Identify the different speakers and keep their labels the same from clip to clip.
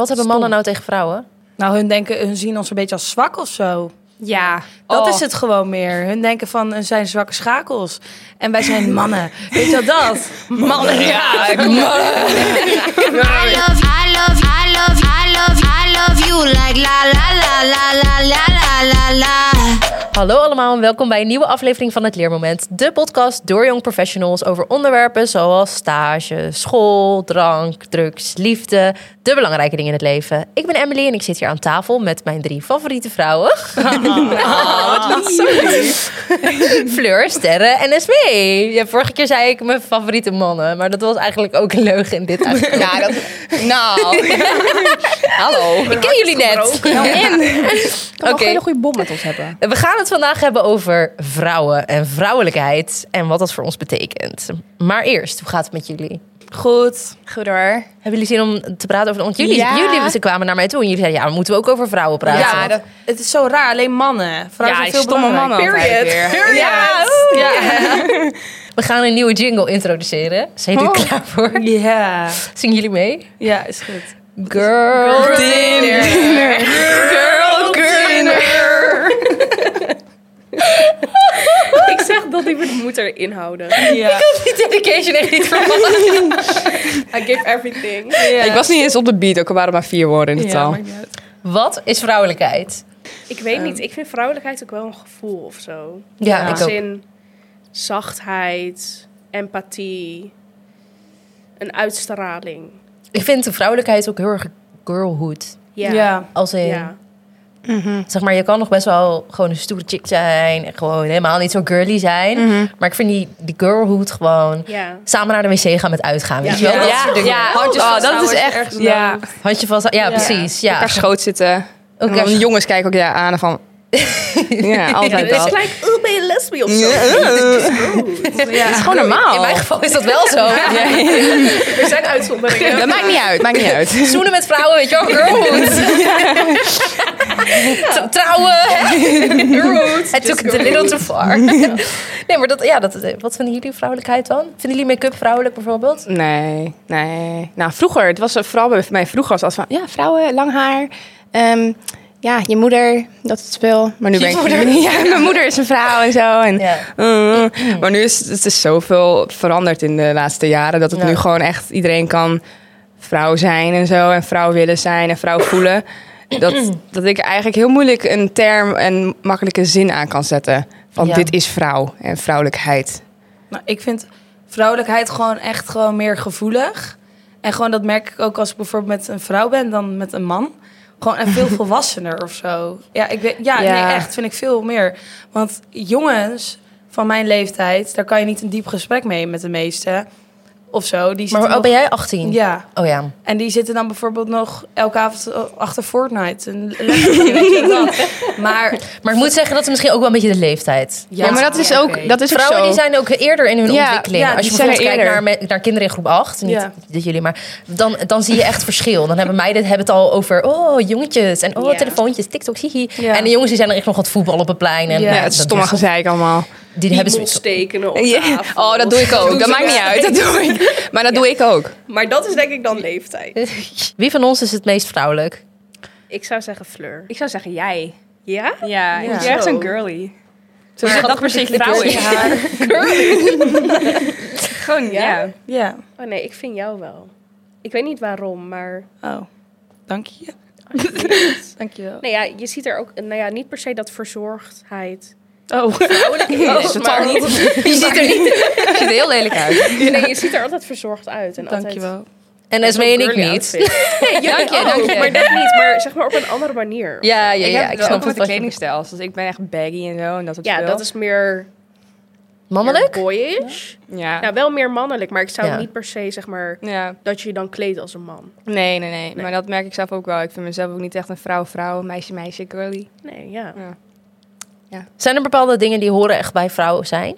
Speaker 1: Wat hebben mannen nou tegen vrouwen?
Speaker 2: Nou, hun, denken, hun zien ons een beetje als zwak of zo.
Speaker 3: Ja,
Speaker 2: Dat
Speaker 3: Oh.
Speaker 2: is het gewoon meer. Hun denken van, eh, zijn zwakke schakels. En wij zijn mannen. Weet je wel dat? Mannen, ja.
Speaker 4: I love, I love, I love, I love, I love you like la la la la la la la la la.
Speaker 1: Hallo allemaal en welkom bij een nieuwe aflevering van het Leermoment. De podcast door jong professionals over onderwerpen zoals stage, school, drank, drugs, liefde. De belangrijke dingen in het leven. Ik ben Emily en ik zit hier aan tafel met mijn drie favoriete vrouwen. Fleur, Sterre en Esmee. Ja, vorige keer zei ik mijn favoriete mannen, maar dat was eigenlijk ook een leugen in dit eigenlijk.
Speaker 5: Nou, dat, nou. hallo.
Speaker 1: Ik ken jullie net.
Speaker 3: kan
Speaker 1: Oké.
Speaker 3: wel een hele goede bom met ons hebben.
Speaker 1: We gaan het vandaag hebben over vrouwen en vrouwelijkheid en wat dat voor ons betekent. Maar eerst, hoe gaat het met jullie?
Speaker 2: Goed.
Speaker 5: Goed hoor.
Speaker 1: Hebben jullie zin om te praten over... Want jullie,
Speaker 5: Ja.
Speaker 1: jullie ze kwamen naar mij toe en jullie zeiden... ja, moeten we ook over vrouwen praten?
Speaker 5: Ja, dat,
Speaker 2: Het is zo raar, alleen mannen. Vrouwen
Speaker 5: ja,
Speaker 2: zijn veel domme mannen. altijd weer.
Speaker 5: Ja,
Speaker 2: Ja.
Speaker 1: We gaan een nieuwe jingle introduceren. Zijn jullie klaar voor?
Speaker 2: Ja.
Speaker 1: Zingen jullie mee?
Speaker 2: Ja, is goed.
Speaker 1: Girl,
Speaker 2: Girl
Speaker 3: Ik zeg dat die moet erin houden.
Speaker 2: Ja.
Speaker 1: die dedication echt niet verwacht.
Speaker 3: I give everything.
Speaker 5: Ik was niet eens op de beat, ook al waren er maar vier woorden in
Speaker 2: Ja,
Speaker 5: totaal.
Speaker 2: maakt niet uit.
Speaker 1: Wat is vrouwelijkheid?
Speaker 3: Ik
Speaker 5: Ehm.
Speaker 3: weet niet, ik vind vrouwelijkheid ook wel een gevoel of zo.
Speaker 1: Ja,
Speaker 3: In
Speaker 1: ik ook.
Speaker 3: zin zachtheid, empathie, een uitstraling.
Speaker 1: Ik vind de vrouwelijkheid ook heel erg girlhood.
Speaker 3: Ja.
Speaker 2: Ja.
Speaker 1: Als in...
Speaker 3: Ja.
Speaker 1: Zeg maar, je kan nog best wel gewoon een stoere chick zijn. En gewoon helemaal niet zo girly zijn. Maar ik vind die, die girlhood gewoon...
Speaker 3: Ja.
Speaker 1: Samen naar de wc gaan met uitgaan, weet je wel?
Speaker 5: Ja,
Speaker 1: Dat soort dingen.
Speaker 5: ja.
Speaker 2: Handjes
Speaker 5: Oh, dat
Speaker 2: vasthouden
Speaker 5: is
Speaker 2: als je
Speaker 5: echt.
Speaker 2: ergens
Speaker 5: Ja.
Speaker 1: Handje vast... Ja, precies. Ja.
Speaker 5: Elkaar schoot zitten. En
Speaker 1: Elkaar
Speaker 5: dan
Speaker 1: scho-
Speaker 5: jongens kijken ook ja aan en van. ja, altijd
Speaker 3: Het is
Speaker 5: dat.
Speaker 3: gelijk, oh, ben je lesbisch of zo?
Speaker 5: Het is gewoon normaal.
Speaker 1: In mijn geval is dat wel zo.
Speaker 3: Er zijn uitzonderingen.
Speaker 5: Dat maakt niet uit, maakt niet uit.
Speaker 1: Zoenen met vrouwen, weet je wel? Girlhood. Tr- Trouwen. Girlhood. Het took it a little too far. nee, maar dat, ja, dat, eh, wat vinden jullie vrouwelijkheid dan? Vinden jullie make-up vrouwelijk bijvoorbeeld?
Speaker 5: Nee, nee. Nou, vroeger, het was er vooral bij mij vroeger was het van, ja, vrouwen, lang haar. ehm, ja, je moeder, dat het spul. Maar nu ben ik Ja, mijn moeder is een vrouw en zo. En,
Speaker 1: Ja.
Speaker 5: eh, eh. maar nu is het is zoveel veranderd in de laatste jaren dat het
Speaker 1: Ja.
Speaker 5: nu gewoon echt iedereen kan vrouw zijn en zo. En vrouw willen zijn en vrouw voelen. Dat, dat ik eigenlijk heel moeilijk een term en makkelijke zin aan kan zetten. Van
Speaker 1: Ja.
Speaker 5: dit is vrouw en vrouwelijkheid.
Speaker 2: Nou, ik vind vrouwelijkheid gewoon echt gewoon meer gevoelig. En gewoon dat merk ik ook als ik bijvoorbeeld met een vrouw ben dan met een man. Gewoon en veel volwassener of zo. Ja, ik weet, ja,
Speaker 5: Ja.
Speaker 2: Nee, echt vind ik veel meer. Want jongens van mijn leeftijd, daar kan je niet een diep gesprek mee met de meesten of zo. Die zitten
Speaker 1: Maar oh,
Speaker 2: nog-
Speaker 1: ben jij 18?
Speaker 2: Ja.
Speaker 1: Oh ja.
Speaker 2: En die zitten dan bijvoorbeeld nog elke avond achter Fortnite. En weet je wel dat. maar
Speaker 1: Maar ik moet zeggen dat is misschien ook wel een beetje de leeftijd.
Speaker 5: Ja, maar dat is
Speaker 2: ja,
Speaker 5: ook,
Speaker 2: oké.
Speaker 5: dat is ook
Speaker 1: Vrouwen
Speaker 5: zo.
Speaker 1: die zijn ook eerder in hun
Speaker 5: Ja,
Speaker 1: ontwikkeling.
Speaker 2: ja,
Speaker 1: Als je
Speaker 5: die zijn
Speaker 1: bijvoorbeeld kijkt
Speaker 5: er
Speaker 1: naar, me- naar kinderen in groep 8, niet
Speaker 2: Ja.
Speaker 1: dat jullie, maar dan, dan zie je echt verschil. Dan hebben meiden hebben het al over oh jongetjes en oh
Speaker 3: Ja.
Speaker 1: telefoontjes, TikTok, hihi.
Speaker 2: Ja.
Speaker 1: En de jongens die zijn er echt nog aan het voetballen op het plein. En,
Speaker 2: Ja,
Speaker 5: ja,
Speaker 1: nou,
Speaker 5: het is
Speaker 1: dat
Speaker 5: stomme
Speaker 1: is-
Speaker 5: gezeik allemaal.
Speaker 1: Die hebben
Speaker 3: Piemels
Speaker 1: zoiets.
Speaker 3: tekenen op
Speaker 5: Ja.
Speaker 3: tafel.
Speaker 5: Oh, dat doe Oh, ik ook.
Speaker 3: doen
Speaker 5: Dat
Speaker 3: ze
Speaker 5: maakt niet
Speaker 3: wel.
Speaker 5: uit. Dat doe ik. Maar dat doe ik ook.
Speaker 3: Maar dat is denk ik dan leeftijd.
Speaker 1: Wie van ons is het meest vrouwelijk?
Speaker 3: Ik zou zeggen Fleur.
Speaker 6: Ik zou zeggen jij.
Speaker 3: Ja?
Speaker 6: Ja,
Speaker 2: Ja.
Speaker 6: jij bent
Speaker 3: Zo.
Speaker 6: een girly.
Speaker 5: Zo
Speaker 6: Maar dat dus per se vrouw is. Gewoon, ja.
Speaker 2: ja.
Speaker 3: Oh nee, ik vind jou wel. Ik weet niet waarom, maar...
Speaker 2: Oh, dank je. dank je wel.
Speaker 3: Nee, ja, je ziet er ook... Nou ja, niet per se dat verzorgdheid...
Speaker 2: Oh.
Speaker 3: Vrouwelijk is,
Speaker 5: dat is totaal
Speaker 3: maar-
Speaker 5: niet.
Speaker 1: Je ziet er niet.
Speaker 5: Je ziet er heel lelijk uit.
Speaker 3: Nee, je ziet er altijd verzorgd uit. En altijd...
Speaker 2: Dankjewel.
Speaker 1: En
Speaker 3: Zo'n
Speaker 1: Esmee en ik
Speaker 3: girly
Speaker 1: niet.
Speaker 3: outfit.
Speaker 1: Nee, dank je, dank
Speaker 3: Maar
Speaker 1: je.
Speaker 3: dat niet, maar zeg maar op een andere manier.
Speaker 1: Ja, ja, ja. Ik
Speaker 5: Oh, ik snap
Speaker 1: snap
Speaker 5: ook met
Speaker 1: het
Speaker 5: de
Speaker 1: wat je...
Speaker 5: kledingstijl. Dus ik ben echt baggy en zo. En dat soort
Speaker 3: Ja,
Speaker 5: spul.
Speaker 3: dat is meer... meer
Speaker 1: Mannelijk?
Speaker 3: Boyish.
Speaker 5: Ja.
Speaker 3: Ja, wel meer mannelijk, maar ik zou
Speaker 1: Ja.
Speaker 3: niet per se zeg maar...
Speaker 5: Ja.
Speaker 3: Dat je je dan kleedt als een man.
Speaker 5: Nee, nee, nee, Maar dat merk ik zelf ook wel. Ik vind mezelf ook niet echt een vrouw, vrouw, meisje, meisje, girly.
Speaker 3: Nee, ja.
Speaker 1: Zijn er bepaalde dingen die horen echt bij vrouwen zijn?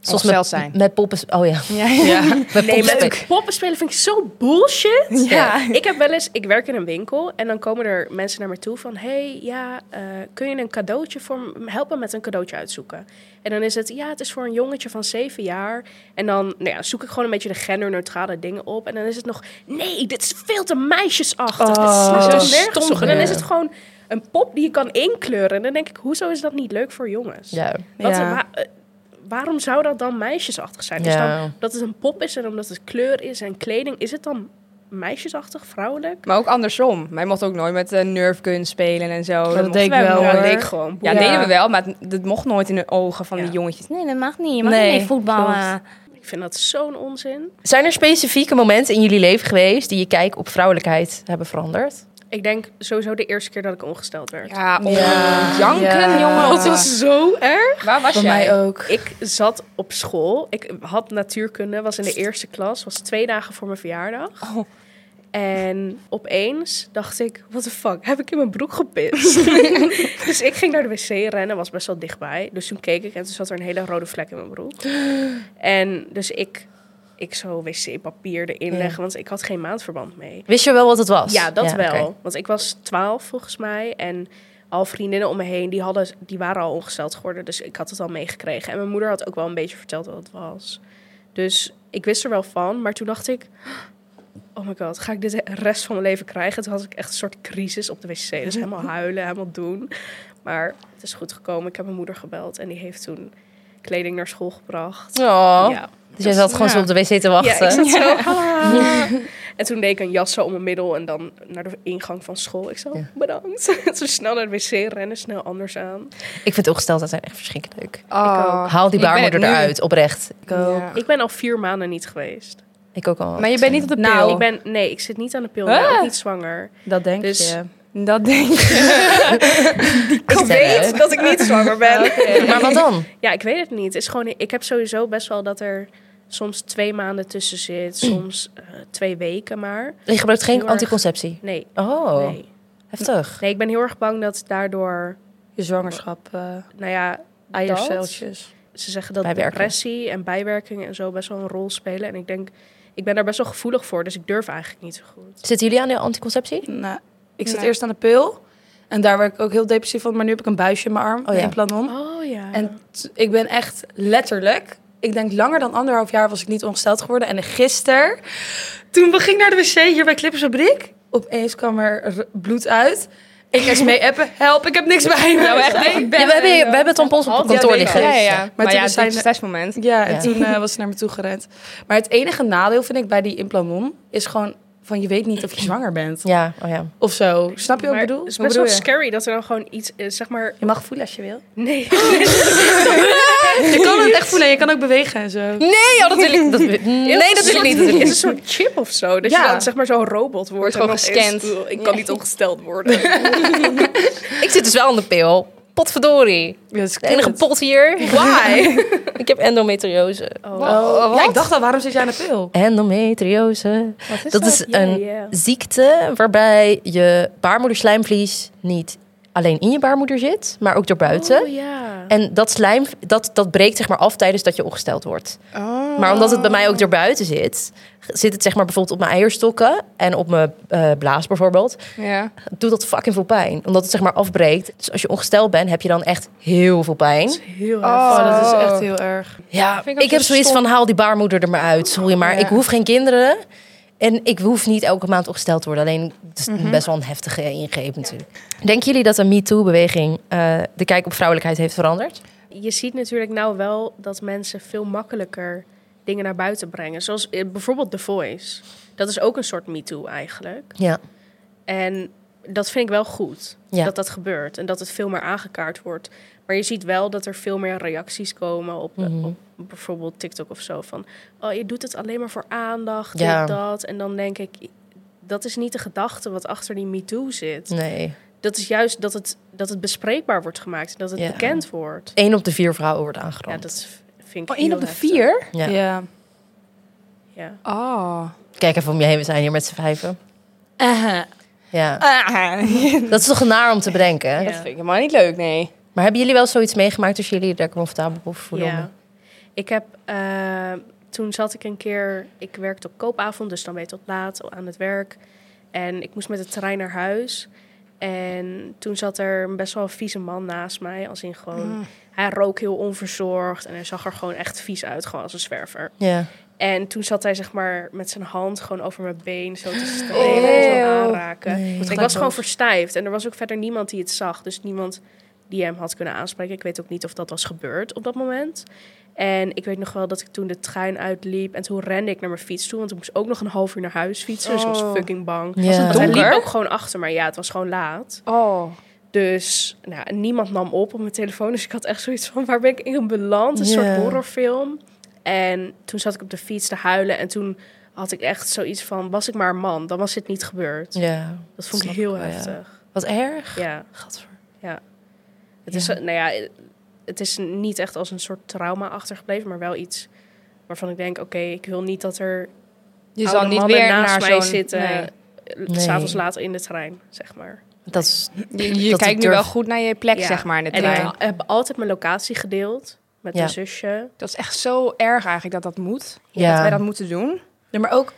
Speaker 1: Zoals
Speaker 7: Ongesteld
Speaker 1: met,
Speaker 7: zijn.
Speaker 1: met poppen. Oh ja,
Speaker 7: Ja.
Speaker 1: met
Speaker 3: Nee,
Speaker 1: poppen.
Speaker 3: met poppen spelen vind ik zo bullshit. Ik heb wel eens, ik werk in een winkel en dan komen er mensen naar me toe van, hey, ja, eh, kun je een cadeautje voor m- helpen met een cadeautje uitzoeken? En dan is het, ja, het is voor een jongetje van zeven jaar. En dan nou ja, zoek ik gewoon een beetje de genderneutrale dingen op. En dan is het nog, nee, dit is veel te
Speaker 1: Oh,
Speaker 3: meisjesachtig. dit slaat
Speaker 1: zo
Speaker 3: zo nergens
Speaker 1: stom
Speaker 3: op. En dan
Speaker 1: weer.
Speaker 3: is het gewoon een pop die je kan inkleuren. En dan denk ik, hoezo is dat niet leuk voor jongens?
Speaker 1: Ja.
Speaker 3: Wat,
Speaker 2: Ja.
Speaker 3: wa- eh, waarom zou dat dan meisjesachtig zijn? Dus
Speaker 1: Ja.
Speaker 3: dan, omdat het een pop is en omdat het kleur is en kleding, is het dan meisjesachtig, vrouwelijk?
Speaker 5: Maar ook andersom. Wij mochten ook nooit met eh, Nerf Gun spelen en zo.
Speaker 2: dat
Speaker 5: mochten
Speaker 2: deed ik
Speaker 5: wij-
Speaker 2: wel,
Speaker 5: Ja, dat
Speaker 2: hoor.
Speaker 5: deed ik gewoon. Ja,
Speaker 2: Ja.
Speaker 5: deden we wel, maar het- dat mocht nooit in de ogen van
Speaker 3: Ja.
Speaker 5: de jongetjes.
Speaker 7: Nee, dat mag niet. Je
Speaker 2: mag Nee, niet mee voetballen.
Speaker 3: Ik vind dat zo'n onzin.
Speaker 1: Zijn er specifieke momenten in jullie leven geweest die je kijk op vrouwelijkheid hebben veranderd?
Speaker 3: Ik denk sowieso de eerste keer dat ik ongesteld werd.
Speaker 5: Ja, om
Speaker 2: Ja.
Speaker 5: janken,
Speaker 2: Ja.
Speaker 5: jongen.
Speaker 2: Dat
Speaker 3: was zo erg.
Speaker 5: Waar was
Speaker 2: Bij
Speaker 5: jij?
Speaker 2: mij ook.
Speaker 3: Ik zat op school. Ik had natuurkunde, was in de eerste klas. Was twee dagen voor mijn verjaardag. En opeens dacht ik, what the fuck, heb ik in mijn broek gepist? dus ik ging naar de wc rennen, was best wel dichtbij. Dus toen keek ik en toen zat er een hele rode vlek in mijn broek. En dus ik, ik zo wc-papier erin
Speaker 1: Ja.
Speaker 3: leggen, want ik had geen maandverband mee.
Speaker 1: Wist je wel wat het was?
Speaker 3: Ja, dat wel.
Speaker 1: oké.
Speaker 3: Want ik was twaalf volgens mij. En al vriendinnen om me heen, die, hadden, die waren al ongesteld geworden. Dus ik had het al meegekregen. En mijn moeder had ook wel een beetje verteld wat het was. Dus ik wist er wel van. Maar toen dacht ik... Oh my god, ga ik dit de rest van mijn leven krijgen? Toen had ik echt een soort crisis op de wc. Dus helemaal huilen, helemaal doen. Maar het is goed gekomen. Ik heb mijn moeder gebeld. En die heeft toen kleding naar school gebracht.
Speaker 1: Oh.
Speaker 3: Ja.
Speaker 1: Dus jij zat gewoon
Speaker 5: ja.
Speaker 1: zo op de wc te wachten.
Speaker 3: Ja, ik zat zo. "Hallo." En toen deed ik een jas zo om mijn middel en dan naar de ingang van school. Ik zei,
Speaker 1: Ja.
Speaker 3: bedankt. Toen snel naar de wc rennen, snel anders aan.
Speaker 1: Ik vind ongesteld zijn echt verschrikkelijk leuk.
Speaker 5: Ah,
Speaker 7: Oh.
Speaker 1: Haal die
Speaker 7: Ik ben het
Speaker 1: baarmoeder
Speaker 7: nu.
Speaker 1: eruit, oprecht.
Speaker 2: Ik ook.
Speaker 7: Ja.
Speaker 3: Ik ben al vier maanden niet geweest.
Speaker 1: Ik ook al.
Speaker 7: Maar je bent niet op de pil.
Speaker 2: Nou,
Speaker 3: Ik ben, nee, ik zit niet aan de pil, ik ben ook niet zwanger.
Speaker 2: Dat denk
Speaker 3: Dus-
Speaker 2: je.
Speaker 7: Dat denk ik.
Speaker 3: Ik weet dat ik niet zwanger ben.
Speaker 1: Maar wat dan?
Speaker 3: Ja, ik weet het niet. Het Is gewoon, ik heb sowieso best wel dat er soms twee maanden tussen zit, soms eh, twee weken maar.
Speaker 1: Je gebruikt geen
Speaker 3: Heel erg.
Speaker 1: anticonceptie.
Speaker 3: Nee,
Speaker 1: Oh,
Speaker 3: nee.
Speaker 1: heftig.
Speaker 3: Nee, ik ben heel erg bang dat daardoor,
Speaker 2: Je zwangerschap, eh
Speaker 3: nou ja,
Speaker 2: eierceltjes.
Speaker 3: ze zeggen dat
Speaker 1: Bijwerking.
Speaker 3: depressie en bijwerkingen en zo best wel een rol spelen. En ik denk, ik ben daar best wel gevoelig voor, dus ik durf eigenlijk niet zo goed.
Speaker 1: Zitten jullie aan de anticonceptie?
Speaker 2: Nou, ik zat
Speaker 5: Nee.
Speaker 2: eerst aan de pil. En daar werd ik ook heel depressief van. Maar nu heb ik een buisje in mijn arm.
Speaker 1: Oh ja.
Speaker 2: Een planon.
Speaker 3: Oh ja. En
Speaker 2: En t- ik ben echt letterlijk... Ik denk langer dan anderhalf jaar was ik niet ongesteld geworden. En gisteren, toen ging ik naar de wc hier bij Clippers Fabriek. Opeens kwam er r- bloed uit. Ik ga mee appen. Help, ik heb niks bij
Speaker 3: Nou,
Speaker 2: me.
Speaker 1: Ja, we, hebben, we hebben tampons op het
Speaker 2: Altijd
Speaker 1: kantoor
Speaker 2: wel.
Speaker 1: liggen. dus-
Speaker 7: Ja, ja, ja. Maar,
Speaker 2: toen
Speaker 7: ja,
Speaker 2: zijn
Speaker 7: het
Speaker 2: de-
Speaker 7: stressmoment.
Speaker 2: Ja, en
Speaker 1: Ja.
Speaker 2: toen eh, was ze naar me toe gerend. Maar het enige nadeel vind ik bij die implanon is gewoon van je weet niet of je zwanger bent
Speaker 1: Ja, oh ja.
Speaker 2: of zo. Snap je wat ik bedoel?
Speaker 3: het is
Speaker 2: Wat
Speaker 3: best
Speaker 2: bedoel
Speaker 3: wel
Speaker 2: je?
Speaker 3: scary dat er dan gewoon iets, eh, zeg maar...
Speaker 2: Je mag voelen als je wil.
Speaker 3: Nee,
Speaker 2: Je kan het echt voelen. en Je kan ook bewegen en zo.
Speaker 1: Nee, dat wil ik, nee, dat wil ik niet. Dat
Speaker 3: Het is een soort chip of zo. Dat
Speaker 2: Ja.
Speaker 3: je dan zeg maar zo'n robot wordt.
Speaker 7: gewoon
Speaker 3: en dan opeens,
Speaker 7: gescand.
Speaker 3: "Oeh, ik kan niet ongesteld worden.
Speaker 1: Ik zit dus wel aan de pil. Potverdorie.
Speaker 2: Ja, dat is
Speaker 1: De enige
Speaker 2: kut.
Speaker 1: pot hier. Why? ik heb endometriose.
Speaker 2: Oh, ja, ik dacht al, waarom zit jij aan de pil?
Speaker 1: Endometriose. dat, is
Speaker 3: Ja,
Speaker 1: een
Speaker 3: ja.
Speaker 1: ziekte waarbij je baarmoederslijmvlies niet alleen in je baarmoeder zit, maar ook daarbuiten.
Speaker 3: Oh ja.
Speaker 1: En dat slijm, dat, dat breekt zeg maar af tijdens dat je ongesteld wordt. Maar omdat het bij mij ook erbuiten zit, zit het zeg maar bijvoorbeeld op mijn eierstokken en op mijn eh, blaas bijvoorbeeld,
Speaker 7: Ja.
Speaker 1: doet dat fucking veel pijn. Omdat het zeg maar afbreekt. Dus als je ongesteld bent, heb je dan echt heel veel pijn.
Speaker 3: Heel
Speaker 7: Oh.
Speaker 2: Oh, dat is echt heel erg.
Speaker 1: Ja,
Speaker 7: Vind
Speaker 1: ik,
Speaker 7: ik ook
Speaker 1: heb
Speaker 7: zo
Speaker 1: zoiets
Speaker 7: stom.
Speaker 1: van haal die baarmoeder er maar uit. Sorry, maar
Speaker 2: Ja.
Speaker 1: ik hoef geen kinderen. En ik hoef niet elke maand opgesteld te worden. Alleen het is best wel een heftige ingreep natuurlijk. Denken jullie dat de MeToo-beweging eh, de kijk op vrouwelijkheid heeft veranderd?
Speaker 3: Je ziet natuurlijk nou wel dat mensen veel makkelijker dingen naar buiten brengen. Zoals eh, bijvoorbeeld The Voice. Dat is ook een soort MeToo eigenlijk.
Speaker 1: Ja.
Speaker 3: En dat vind ik wel goed,
Speaker 1: Ja.
Speaker 3: dat dat gebeurt. En dat het veel meer aangekaart wordt. Maar je ziet wel dat er veel meer reacties komen op,
Speaker 1: Mhm.
Speaker 3: eh,
Speaker 7: Mhm.
Speaker 3: op bijvoorbeeld TikTok of zo. Van, oh, je doet het alleen maar voor aandacht, dit,
Speaker 1: Ja.
Speaker 3: dat. En dan denk ik, dat is niet de gedachte wat achter die MeToo zit.
Speaker 7: Mm.
Speaker 1: Nee.
Speaker 3: Dat is juist dat het, dat het bespreekbaar wordt gemaakt. En dat het
Speaker 1: Ja.
Speaker 3: bekend wordt.
Speaker 1: Eén op de vier vrouwen wordt
Speaker 3: Ja,
Speaker 1: aangerand.
Speaker 3: dat vind ik
Speaker 7: Oh, één
Speaker 3: heel
Speaker 7: op de
Speaker 3: heftig.
Speaker 7: vier?
Speaker 1: Ja.
Speaker 2: Ja.
Speaker 3: Ja.
Speaker 7: Oh.
Speaker 1: Kijk even om je heen, we zijn hier met z'n vijven. Ja. Dat is toch naar om te bedenken.
Speaker 3: Ja.
Speaker 7: Dat vind ik helemaal niet leuk, nee.
Speaker 1: Maar hebben jullie wel zoiets meegemaakt als jullie je daar comfortabel voor voelen?
Speaker 3: Ja. Ik heb, eh, toen zat ik een keer, ik werkte op koopavond, dus dan ben je tot laat aan het werk. En ik moest met het terrein naar huis. En toen zat er een best wel een vieze man naast mij, als in gewoon,
Speaker 1: Mm.
Speaker 3: hij rook heel onverzorgd en hij zag er gewoon echt vies uit, gewoon als een zwerver.
Speaker 1: Ja.
Speaker 3: En toen zat hij zeg maar met zijn hand gewoon over mijn been zo te strelen en zo aanraken.
Speaker 1: Oh. Nee.
Speaker 3: Ik was gewoon verstijfd en er was ook verder niemand die het zag. Dus niemand die hem had kunnen aanspreken. Ik weet ook niet of dat was gebeurd op dat moment. En ik weet nog wel dat ik toen de trein uitliep en toen rende ik naar mijn fiets toe. Want ik moest ook nog een half uur naar huis fietsen. Dus ik was
Speaker 5: Oh.
Speaker 3: fucking bang.
Speaker 1: Ja. Was het
Speaker 3: Want hij liep
Speaker 5: donker?
Speaker 3: ook gewoon achter maar Ja, het was gewoon laat.
Speaker 5: Oh.
Speaker 3: Dus nou, en niemand nam op op mijn telefoon. Dus ik had echt zoiets van, waar ben ik in beland? Een
Speaker 1: Ja.
Speaker 3: soort horrorfilm. En toen zat ik op de fiets te huilen. En toen had ik echt zoiets van, was ik maar een man, dan was dit niet gebeurd.
Speaker 1: ja.
Speaker 3: dat vond ik
Speaker 1: snap
Speaker 3: heel
Speaker 1: ik wel, ja.
Speaker 3: heftig.
Speaker 1: Wat erg.
Speaker 3: Ja,
Speaker 1: Gadver.
Speaker 3: het is,
Speaker 1: Ja.
Speaker 3: nou ja, het is niet echt als een soort trauma achtergebleven, maar wel iets waarvan ik denk, oké, ik wil niet dat er
Speaker 5: Je
Speaker 3: oude
Speaker 5: zal niet
Speaker 3: mannen
Speaker 5: weer
Speaker 3: naast
Speaker 5: naar
Speaker 3: mij
Speaker 5: zo'n-
Speaker 3: zitten,
Speaker 5: nee.
Speaker 3: eh, s'avonds laat in de trein, zeg maar.
Speaker 1: Dat is
Speaker 5: Je, je
Speaker 1: Dat ik
Speaker 5: kijkt nu
Speaker 1: durf-
Speaker 5: wel goed naar je plek,
Speaker 3: Ja.
Speaker 5: zeg maar, in de
Speaker 3: En
Speaker 5: trein.
Speaker 3: ik heb altijd mijn locatie gedeeld met
Speaker 1: Ja.
Speaker 3: mijn zusje.
Speaker 5: Dat is echt zo erg eigenlijk dat dat moet.
Speaker 1: Ja.
Speaker 5: Dat wij dat moeten doen.
Speaker 2: Nee, maar ook,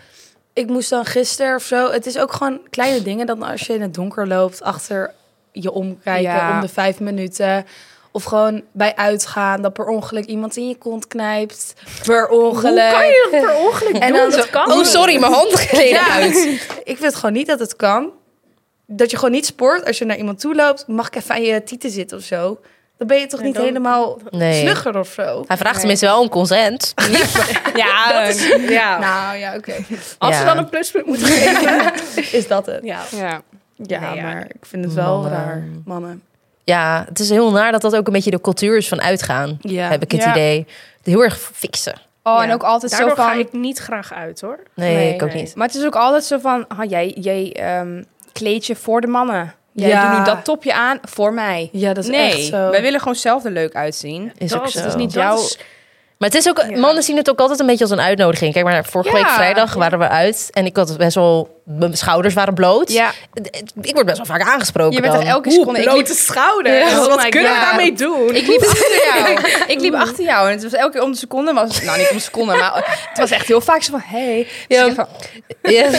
Speaker 2: ik moest dan gisteren of zo. Het is ook gewoon kleine dingen dan als je in het donker loopt, achter je omkijken
Speaker 5: Ja.
Speaker 2: om de vijf minuten. Of gewoon bij uitgaan, dat per ongeluk iemand in je kont knijpt. Per ongeluk.
Speaker 3: Hoe kan je dat per ongeluk
Speaker 2: En
Speaker 3: doen?
Speaker 2: dan
Speaker 3: dat kan
Speaker 2: oh,
Speaker 3: niet.
Speaker 2: sorry, mijn hand gleed
Speaker 1: Ja.
Speaker 2: uit. Ik vind gewoon niet dat het kan. Dat je gewoon niet sport als je naar iemand toe loopt. Mag ik even aan je tieten zitten of zo? Dan ben je toch
Speaker 3: Nee,
Speaker 2: niet
Speaker 3: dan-
Speaker 2: helemaal
Speaker 1: Nee.
Speaker 2: slugger of zo?
Speaker 1: Hij vraagt tenminste wel om consent.
Speaker 5: Ja, dat is...
Speaker 3: Ja.
Speaker 2: Nou ja, oké.
Speaker 3: Als ze
Speaker 1: Ja.
Speaker 3: dan een pluspunt moeten geven.
Speaker 2: Is dat het?
Speaker 3: Ja.
Speaker 5: ja.
Speaker 2: Ja,
Speaker 3: Nee, ja.
Speaker 2: maar ik vind het wel
Speaker 1: Mannen.
Speaker 2: raar. Mannen.
Speaker 1: Ja, het is heel naar dat dat ook een beetje de cultuur is van uitgaan.
Speaker 2: Ja.
Speaker 1: Heb ik het
Speaker 5: Ja.
Speaker 1: idee. Heel erg fixen.
Speaker 5: Oh, en
Speaker 3: Ja.
Speaker 5: ook altijd
Speaker 3: Daardoor
Speaker 5: zo van...
Speaker 3: ga ik niet graag uit hoor.
Speaker 1: Nee,
Speaker 5: Nee,
Speaker 1: ik ook
Speaker 3: nee.
Speaker 1: niet.
Speaker 5: Maar het is ook altijd zo van, ah, jij, jij ehm, kleed je voor de mannen. Jij
Speaker 2: Ja.
Speaker 5: doet nu dat topje aan voor mij.
Speaker 2: Ja, dat is
Speaker 5: nee,
Speaker 2: echt zo.
Speaker 5: wij willen gewoon zelf er leuk uitzien.
Speaker 1: Is
Speaker 3: dat,
Speaker 1: ook zo.
Speaker 3: Het is niet
Speaker 5: Dat
Speaker 3: jouw...
Speaker 5: is-
Speaker 1: Maar het is ook,
Speaker 3: Ja.
Speaker 1: mannen zien het ook altijd een beetje als een uitnodiging. Kijk maar, vorige
Speaker 5: Ja.
Speaker 1: week vrijdag waren we uit en ik had best wel, mijn schouders waren bloot.
Speaker 5: Ja,
Speaker 1: Ik word best wel vaak aangesproken.
Speaker 5: je bent
Speaker 1: dan.
Speaker 5: er elke seconde... Ik liep,
Speaker 3: schouder.
Speaker 5: Ja. Oh my God.
Speaker 3: doen?
Speaker 5: ik liep achter jou. Ik liep achter jou en het was elke keer om de seconde. Was, nou, niet om de seconde, maar het was echt heel vaak zo van... Hey.
Speaker 1: Ja.
Speaker 5: Dus ik van, oh,
Speaker 1: Ja.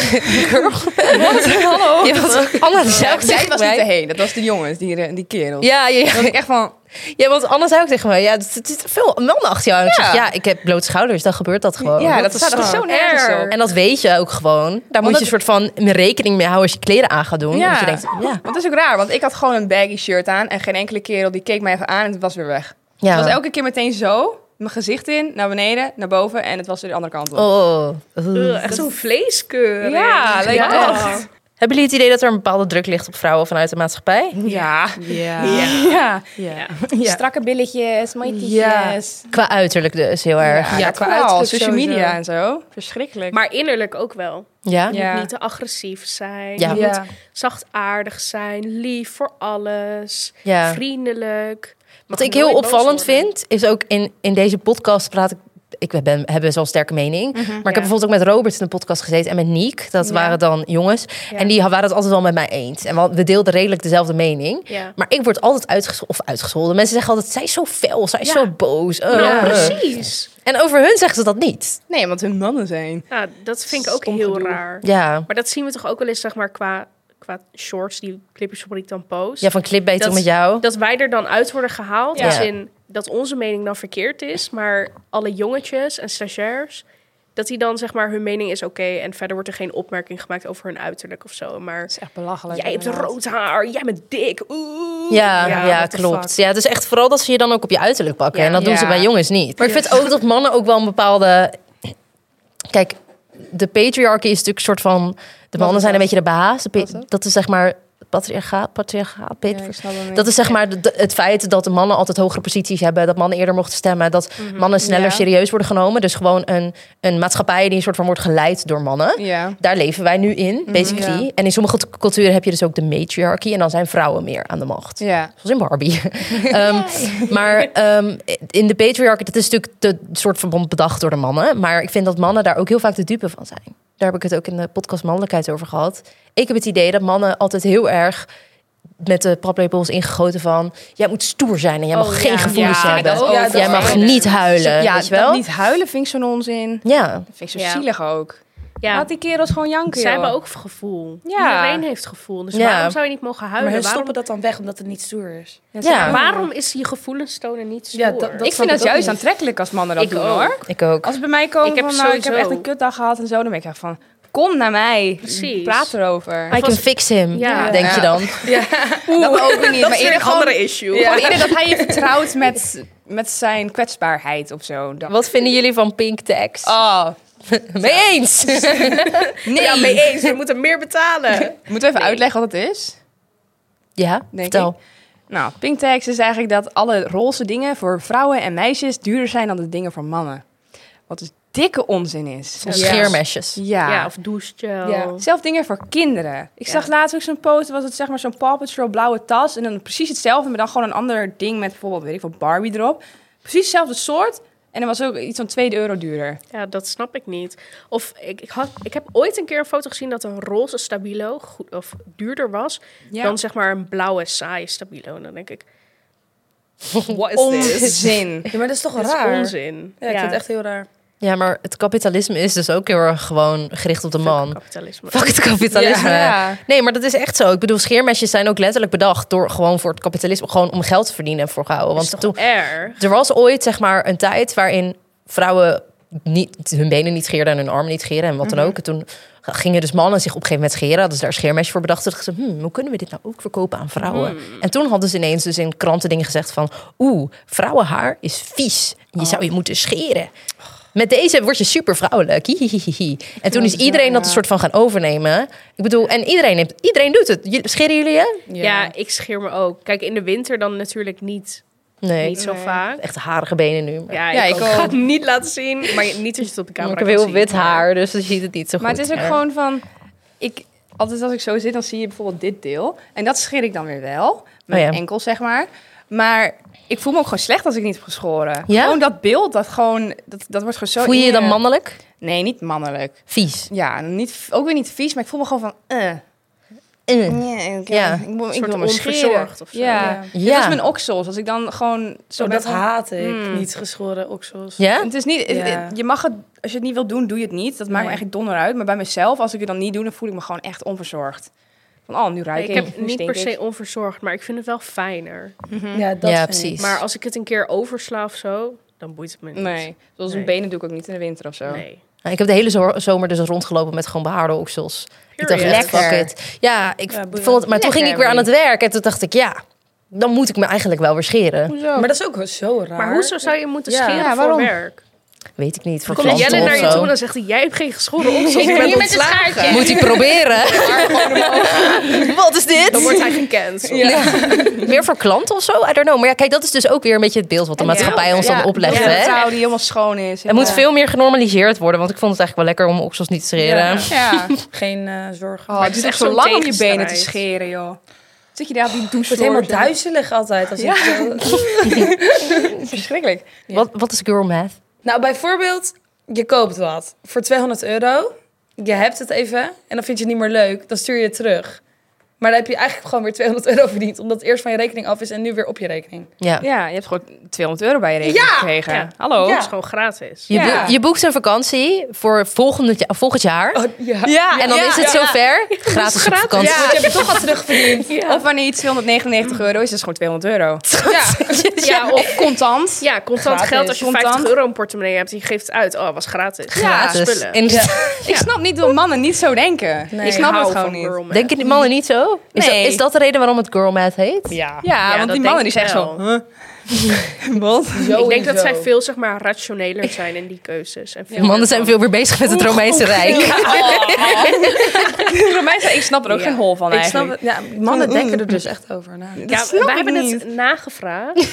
Speaker 1: Hallo. Je was ook, Anna zei ook
Speaker 5: jij
Speaker 1: tegen
Speaker 5: was niet
Speaker 1: mij.
Speaker 5: de heen, dat was de jongens, die, die kerel. Dus
Speaker 1: Ja, ja,
Speaker 5: Dat
Speaker 1: ja.
Speaker 5: ik echt van...
Speaker 1: ja, want Anna zei ook tegen mij. Ja, het het zit veel mannen achter jou. En ik
Speaker 5: Ja.
Speaker 1: zeg, ja, ik heb bloot schouders. Dan gebeurt dat gewoon.
Speaker 5: ja, dat, is, dat is zo nergens
Speaker 3: erg.
Speaker 5: op.
Speaker 1: En dat weet je ook gewoon. Daar moet
Speaker 5: dat-
Speaker 1: je een soort van in rekening mee houden als je kleren aan gaat doen.
Speaker 5: Ja.
Speaker 1: Want je denkt, ja.
Speaker 5: Want dat is ook raar, want ik had gewoon een baggy shirt aan en geen enkele kerel die keek mij even aan en het was weer weg.
Speaker 1: ja.
Speaker 5: Het was elke keer meteen zo, mijn gezicht in, naar beneden, naar boven en het was weer de andere kant op.
Speaker 1: Oh. Oeh.
Speaker 3: Echt zo'n vleeskeur. Oh.
Speaker 5: Ja, lijkt me
Speaker 3: ja.
Speaker 1: Hebben jullie het idee dat er een bepaalde druk ligt op vrouwen vanuit de maatschappij?
Speaker 5: Ja.
Speaker 2: Ja.
Speaker 5: Ja.
Speaker 2: Ja.
Speaker 5: Strakke billetjes, mooie tietjes.
Speaker 2: tietjes.
Speaker 1: Qua uiterlijk dus heel erg.
Speaker 5: Ja,
Speaker 2: Ja,
Speaker 5: dat
Speaker 2: qua
Speaker 5: vooral,
Speaker 2: uiterlijk
Speaker 5: social
Speaker 2: sowieso.
Speaker 5: media en zo. Verschrikkelijk.
Speaker 3: Maar innerlijk ook wel.
Speaker 1: Ja?
Speaker 5: Ja.
Speaker 3: Niet te agressief zijn.
Speaker 1: Ja.
Speaker 3: Ja.
Speaker 2: Ja.
Speaker 3: Zacht aardig zijn. Lief voor alles.
Speaker 1: Ja.
Speaker 3: Vriendelijk.
Speaker 1: Wat ik heel opvallend vind, is ook in, in deze podcast praat ik... Ik ben, heb best wel een sterke mening. maar ik
Speaker 3: Mhm, ja.
Speaker 1: heb bijvoorbeeld ook met Robert in de podcast gezeten. En met Niek. Dat
Speaker 5: Ja.
Speaker 1: waren dan jongens.
Speaker 3: Ja.
Speaker 1: En die waren het altijd wel met mij eens. En we- we deelden redelijk dezelfde mening.
Speaker 3: Ja.
Speaker 1: Maar ik word altijd uitgescholden. Of uitgescholden. Mensen zeggen altijd, zij is zo fel. Zij is
Speaker 3: Ja.
Speaker 1: zo boos. eh,
Speaker 3: Nou,
Speaker 1: eh.
Speaker 3: precies.
Speaker 1: En over hun zeggen ze dat niet.
Speaker 5: Nee, want hun mannen zijn.
Speaker 3: Ja, dat vind ik ook
Speaker 5: Stom
Speaker 3: heel
Speaker 5: gedoe.
Speaker 3: raar.
Speaker 1: Ja.
Speaker 3: Maar dat zien we toch ook wel eens, zeg maar, qua, qua shorts, die clipjes waarop ik dan post.
Speaker 1: Ja, van clipbait
Speaker 3: Dat-
Speaker 1: tot met jou.
Speaker 3: Dat wij er dan uit worden gehaald,
Speaker 1: Ja.
Speaker 3: als in dat onze mening dan verkeerd is, maar alle jongetjes en stagiairs, dat die dan zeg maar hun mening is oké en verder wordt er geen opmerking gemaakt over hun uiterlijk of zo. Maar
Speaker 5: Dat is echt belachelijk.
Speaker 3: jij hebt
Speaker 5: inderdaad.
Speaker 3: rood haar, jij bent dik, oeh.
Speaker 1: Ja, ja,
Speaker 2: Ja, what the
Speaker 1: klopt.
Speaker 2: fuck.
Speaker 1: Ja, het is echt vooral dat ze je dan ook op je uiterlijk pakken.
Speaker 3: Ja.
Speaker 1: en dat doen ze
Speaker 5: Ja.
Speaker 1: bij jongens niet. Maar ik vind ook dat mannen ook wel een bepaalde... Kijk, de patriarchy is natuurlijk een soort van... De mannen zijn een beetje de baas. De pa- dat is zeg maar... Patriarchaat, patriarchaat,
Speaker 5: Ja,
Speaker 1: pat-
Speaker 5: ik snap hem niet.
Speaker 1: dat is zeg maar de- het feit dat de mannen altijd hogere posities hebben, dat mannen eerder mochten stemmen, dat mannen sneller
Speaker 5: Ja.
Speaker 1: serieus worden genomen. Dus gewoon een, een maatschappij die een soort van wordt geleid door mannen.
Speaker 5: Ja.
Speaker 1: Daar leven wij nu in, basically.
Speaker 2: ja.
Speaker 1: En in sommige t- culturen heb je dus ook de matriarchy en dan zijn vrouwen meer aan de macht.
Speaker 5: Ja.
Speaker 1: Zoals in Barbie. Ehm, Maar ehm, in de patriarchy, dat is natuurlijk de soort van bedacht door de mannen. Maar ik vind dat mannen daar ook heel vaak de dupe van zijn. Daar heb ik het ook in de podcast Mannelijkheid over gehad. Ik heb het idee dat mannen altijd heel erg met de paplepels ingegoten van... jij moet stoer zijn en jij mag
Speaker 5: Oh,
Speaker 1: geen
Speaker 5: ja.
Speaker 1: gevoelens
Speaker 5: Ja,
Speaker 1: hebben.
Speaker 5: dat ook.
Speaker 2: Ja, dat
Speaker 1: jij
Speaker 2: is
Speaker 1: mag
Speaker 2: ook.
Speaker 1: niet huilen,
Speaker 5: ja,
Speaker 1: Eh, weet je wel?
Speaker 5: dat niet huilen vind ik zo'n onzin.
Speaker 1: Ja,
Speaker 5: Dat vind ik zo
Speaker 3: Ja.
Speaker 5: zielig ook.
Speaker 3: Ja,
Speaker 5: Laat die kerels gewoon janken,
Speaker 3: zij
Speaker 5: joh.
Speaker 3: hebben ook gevoel.
Speaker 5: Ja.
Speaker 3: Iedereen heeft gevoel. Dus
Speaker 1: Ja.
Speaker 3: waarom zou je niet mogen
Speaker 2: Maar
Speaker 3: huilen?
Speaker 2: hun
Speaker 3: waarom,
Speaker 2: stoppen dat dan weg omdat het niet stoer is.
Speaker 1: ja.
Speaker 3: waarom is je gevoelens tonen niet stoer?
Speaker 2: Ja, dat- dat-
Speaker 5: ik
Speaker 2: snap
Speaker 5: vind
Speaker 2: ik
Speaker 5: dat
Speaker 2: ook
Speaker 5: juist
Speaker 2: niet.
Speaker 5: aantrekkelijk als mannen dat
Speaker 3: Ik
Speaker 5: doen,
Speaker 3: ook.
Speaker 5: hoor.
Speaker 1: ik ook.
Speaker 5: Als ze bij mij komen
Speaker 3: Ik heb
Speaker 5: van, nou, ik heb
Speaker 3: sowieso-
Speaker 5: echt een kutdag gehad en zo, dan ben ik echt van, kom naar mij.
Speaker 3: Precies.
Speaker 5: Praat erover.
Speaker 1: I can
Speaker 3: was-
Speaker 1: fix him,
Speaker 3: Ja.
Speaker 1: denk je
Speaker 5: Ja.
Speaker 1: dan.
Speaker 5: dat ook weer niet. maar eerder gewoon,
Speaker 3: issue.
Speaker 5: gewoon eerder dat hij je vertrouwt met, met zijn kwetsbaarheid of zo. Dat-
Speaker 1: Wat vinden jullie van Pink Tax?
Speaker 5: Oh,
Speaker 1: Mee eens!
Speaker 5: nee.
Speaker 3: eens, we moeten meer betalen.
Speaker 5: Moeten we even uitleggen wat het is?
Speaker 1: Ja,
Speaker 5: Denk
Speaker 1: vertel.
Speaker 5: Nou, pink tax is eigenlijk dat alle roze dingen voor vrouwen en meisjes duurder zijn dan de dingen voor mannen. Wat dus dikke onzin is.
Speaker 1: Van Scheermesjes.
Speaker 5: Ja.
Speaker 3: Ja, of douchegel.
Speaker 5: Ja. Zelf dingen voor kinderen. Ik zag laatst ook zo'n post, was het zeg maar zo'n Paw Patrol blauwe tas. En dan precies hetzelfde, maar dan gewoon een ander ding met bijvoorbeeld, weet ik veel, Barbie erop. Precies hetzelfde soort. En dan was ook iets van 2 euro duurder.
Speaker 3: Ja, dat snap ik niet. Of ik, ik, had, ik heb ooit een keer een foto gezien dat een roze stabilo goed, of duurder was
Speaker 5: Ja.
Speaker 3: dan zeg maar een blauwe saaie stabilo. En Dan denk ik,
Speaker 5: What is Onzin.
Speaker 2: Ja, maar dat is toch
Speaker 3: dat
Speaker 2: raar?
Speaker 3: is onzin.
Speaker 2: Ja, ik vind het echt heel raar.
Speaker 1: Ja, maar het kapitalisme is dus ook heel erg gewoon gericht op de man.
Speaker 3: Kapitalisme.
Speaker 1: Fuck het kapitalisme.
Speaker 5: Ja.
Speaker 1: Nee, maar dat is echt zo. Ik bedoel, scheermesjes zijn ook letterlijk bedacht door gewoon voor het kapitalisme, gewoon om geld te verdienen en voor gehouden.
Speaker 3: Dat is
Speaker 1: Want toen,
Speaker 3: toch erg?
Speaker 1: er was ooit zeg maar een tijd waarin vrouwen niet, hun benen niet scheerden en hun armen niet scheren en wat
Speaker 3: Mhm.
Speaker 1: dan ook. En toen gingen dus mannen zich op een gegeven moment scheren. Hadden ze daar scheermesjes voor bedacht. Toen dachten ze, hmm, hoe kunnen we dit nou ook verkopen aan vrouwen?
Speaker 3: Hmm.
Speaker 1: En toen hadden ze ineens dus in kranten dingen gezegd van... oeh, vrouwenhaar is vies. Je
Speaker 3: Oh.
Speaker 1: zou je moeten scheren. Met deze word je super vrouwelijk. Hihihihi. En toen is iedereen dat een soort van gaan overnemen. Ik bedoel, en iedereen, heeft, iedereen doet het. Jullie- Scheren jullie je?
Speaker 3: Ja. ik scheer me ook. Kijk, in de winter dan natuurlijk niet,
Speaker 1: Nee.
Speaker 3: niet zo vaak.
Speaker 1: Echt harige benen nu.
Speaker 3: Ja,
Speaker 5: Ja,
Speaker 3: ik,
Speaker 5: ik
Speaker 3: ook. Ik ga
Speaker 5: ook.
Speaker 3: het niet laten zien, maar niet dat je het op de camera
Speaker 1: ik
Speaker 3: kan
Speaker 1: heb heel
Speaker 3: zien,
Speaker 1: wit
Speaker 3: maar-
Speaker 1: haar, dus je ziet het niet zo
Speaker 5: Maar
Speaker 1: goed.
Speaker 5: het is ook
Speaker 1: Ja.
Speaker 5: gewoon van, ik, altijd als ik zo zit, dan zie je bijvoorbeeld dit deel. En dat scheer ik dan weer wel. Mijn
Speaker 1: Oh ja.
Speaker 5: enkel, zeg maar. Maar ik voel me ook gewoon slecht als ik niet heb geschoren.
Speaker 1: Ja?
Speaker 5: Gewoon dat beeld, dat gewoon, dat, dat wordt gewoon zo...
Speaker 1: Voel je je dan
Speaker 5: in
Speaker 1: mannelijk?
Speaker 5: Nee, niet mannelijk.
Speaker 1: Vies.
Speaker 5: Ja, niet, ook weer niet vies, maar ik voel me gewoon van... eh.
Speaker 1: Eh.
Speaker 3: Mm.
Speaker 5: Ja, oké.
Speaker 1: Ja.
Speaker 5: ik, wil-
Speaker 3: Een
Speaker 5: ik
Speaker 3: soort
Speaker 5: wil me
Speaker 3: onverzorgd
Speaker 5: scheren.
Speaker 3: of zo.
Speaker 5: Ja.
Speaker 2: Ja.
Speaker 5: Dat
Speaker 1: Ja. Oh,
Speaker 5: is mijn oksels. Als ik dan gewoon... Zo
Speaker 2: Zo, dat Hmm. haat ik.
Speaker 5: Mm.
Speaker 2: Niet geschoren oksels.
Speaker 1: Ja?
Speaker 5: Het is niet... het-
Speaker 2: Ja.
Speaker 5: het- je mag het... Als je het niet wilt doen, doe je het niet. Dat maakt me
Speaker 2: Nee.
Speaker 5: eigenlijk donder uit. Maar bij mezelf, als ik het dan niet doe, dan voel ik me gewoon echt onverzorgd. Van, oh, nu ruik
Speaker 3: Nee,
Speaker 5: ik.
Speaker 3: ik heb
Speaker 5: nu
Speaker 3: niet
Speaker 5: stink
Speaker 3: per se
Speaker 5: ik.
Speaker 3: onverzorgd, maar ik vind het wel fijner.
Speaker 2: Ja, dat
Speaker 1: ja,
Speaker 2: vind
Speaker 1: precies.
Speaker 3: Maar als ik het een keer oversla of zo, dan boeit het me niet.
Speaker 5: Nee. Zoals
Speaker 3: Nee.
Speaker 5: een benen doe ik ook niet in de winter of zo.
Speaker 3: Nee.
Speaker 1: Nou, ik heb de hele zo- zomer dus rondgelopen met gewoon behaarde oksels. Ik dacht,
Speaker 3: Period.
Speaker 1: echt, fuck it. Ja, ik
Speaker 2: Ja,
Speaker 1: vond het,
Speaker 2: boeien.
Speaker 1: maar toen ging ik
Speaker 5: Lekker,
Speaker 1: weer aan het werk en toen dacht ik, ja, dan moet ik me eigenlijk wel weer scheren.
Speaker 5: Hoezo?
Speaker 2: Maar dat is ook zo raar.
Speaker 3: Maar hoezo zou je moeten
Speaker 2: Ja.
Speaker 3: scheren
Speaker 5: Ja,
Speaker 3: voor
Speaker 5: waarom?
Speaker 3: werk?
Speaker 1: Weet ik niet, voor
Speaker 3: Komt Jelle
Speaker 1: klanten of
Speaker 3: naar je toe en
Speaker 1: zo.
Speaker 3: dan zegt hij, jij hebt geen geschoren oksels, je bent
Speaker 4: dus
Speaker 3: ontslagen.
Speaker 1: Moet ik proberen? Wat is dit?
Speaker 3: Dan wordt hij gecanceld.
Speaker 1: Meer voor klanten of zo? I don't know. Maar ja, kijk, dat is dus ook weer een beetje het beeld wat de maatschappij ons dan oplegt.
Speaker 5: Een
Speaker 1: Hè?
Speaker 5: vrouw die helemaal schoon is.
Speaker 1: Er moet veel meer genormaliseerd worden, want ik vond het eigenlijk wel lekker om oksels niet te scheren.
Speaker 5: Ja.
Speaker 2: Geen eh zorg.
Speaker 5: Oh, het
Speaker 3: is
Speaker 5: is
Speaker 3: echt
Speaker 5: echt zo
Speaker 3: zo'n
Speaker 5: lang om je
Speaker 3: tegenstrijd.
Speaker 5: benen te scheren, joh. Zit je daar op die douche?
Speaker 2: Ik word helemaal duizelig altijd. Als ik zo...
Speaker 5: Verschrikkelijk.
Speaker 1: Wat, wat is girl math?
Speaker 2: Nou, bijvoorbeeld, je koopt wat voor 200 euro. Je hebt het even en dan vind je het niet meer leuk. Dan stuur je het terug. Maar dan heb je eigenlijk gewoon weer 200 euro verdiend. Omdat het eerst van je rekening af is en nu weer op je rekening.
Speaker 1: Ja.
Speaker 5: Ja, je hebt gewoon 200 euro bij je rekening
Speaker 2: Ja!
Speaker 5: gekregen.
Speaker 3: Ja.
Speaker 5: Hallo.
Speaker 3: Dat
Speaker 2: Ja.
Speaker 3: is gewoon gratis.
Speaker 1: Je,
Speaker 5: Ja.
Speaker 1: boek- je boekt een vakantie voor volgend, ja- volgend jaar.
Speaker 2: ja.
Speaker 1: en dan
Speaker 5: ja,
Speaker 1: is het
Speaker 5: ja.
Speaker 1: zover. Gratis op vakantie.
Speaker 2: Want je hebt het toch al terugverdiend.
Speaker 5: Of wanneer iets 299 euro is, is het gewoon 200 euro.
Speaker 3: Ja, of
Speaker 5: Contant.
Speaker 3: ja, contant
Speaker 2: Gratis.
Speaker 3: geld als je
Speaker 5: Contant.
Speaker 3: 50 euro een portemonnee hebt, die geeft het uit. Oh, was gratis.
Speaker 1: Gratis.
Speaker 3: spullen.
Speaker 1: En
Speaker 5: Ik snap niet dat mannen niet zo denken.
Speaker 2: Nee.
Speaker 5: Ik
Speaker 3: Ik
Speaker 5: snap het
Speaker 3: hou
Speaker 5: gewoon
Speaker 3: van
Speaker 5: niet.
Speaker 3: girl math.
Speaker 1: denken die mannen niet zo? Is,
Speaker 5: Nee.
Speaker 1: dat, is dat de reden waarom het girl math heet?
Speaker 3: Ja,
Speaker 5: Ja, want die
Speaker 3: dat
Speaker 5: mannen die
Speaker 3: denk
Speaker 5: zijn
Speaker 3: ik wel.
Speaker 5: echt zo... huh? Wat?
Speaker 3: Ik denk dat zij veel zeg maar, rationeler zijn in die keuzes. En veel
Speaker 1: Mannen
Speaker 3: meer
Speaker 1: zijn
Speaker 3: van-
Speaker 1: veel meer bezig met het Romeinse Rijk.
Speaker 5: Voor mij is ik snap er ook geen hol van
Speaker 2: Ik snap
Speaker 5: eigenlijk.
Speaker 2: het. Ja, mannen
Speaker 5: Mm,
Speaker 2: denken er dus echt over na.
Speaker 3: Ja,
Speaker 5: snap
Speaker 3: wij
Speaker 5: ik
Speaker 3: hebben
Speaker 5: niet.
Speaker 3: het nagevraagd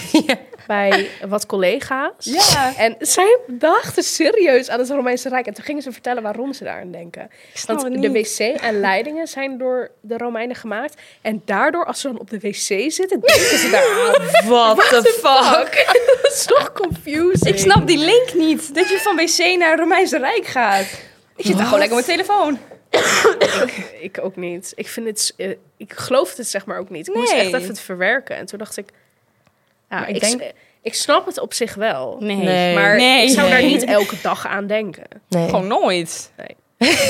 Speaker 3: bij wat collega's.
Speaker 5: Ja.
Speaker 3: En zij dachten serieus aan het Romeinse Rijk. En toen gingen ze vertellen waarom ze daaraan denken.
Speaker 5: snap
Speaker 3: Want
Speaker 5: het
Speaker 3: de
Speaker 5: niet.
Speaker 3: wc en leidingen zijn door de Romeinen gemaakt. En daardoor, als ze dan op de wc zitten, denken ze daaraan.
Speaker 2: What the fuck?
Speaker 3: Dat is toch confusing?
Speaker 5: Ik snap die link niet. Dat je van wc naar Romeinse Rijk gaat. Ik zit daar gewoon lekker op mijn telefoon.
Speaker 3: ik, ik ook niet. Ik vind het... eh, Ik geloof het zeg maar ook niet. Ik moest
Speaker 5: Nee.
Speaker 3: echt even het verwerken. En toen dacht ik... Ja,
Speaker 2: Maar
Speaker 3: ik,
Speaker 2: ik
Speaker 3: s-
Speaker 2: denk-
Speaker 3: ik snap het op zich wel.
Speaker 7: Nee.
Speaker 1: Nee.
Speaker 3: Maar
Speaker 5: Nee.
Speaker 3: ik zou daar
Speaker 1: Nee.
Speaker 3: niet elke dag aan denken.
Speaker 1: Nee.
Speaker 5: Gewoon nooit.
Speaker 3: Nee.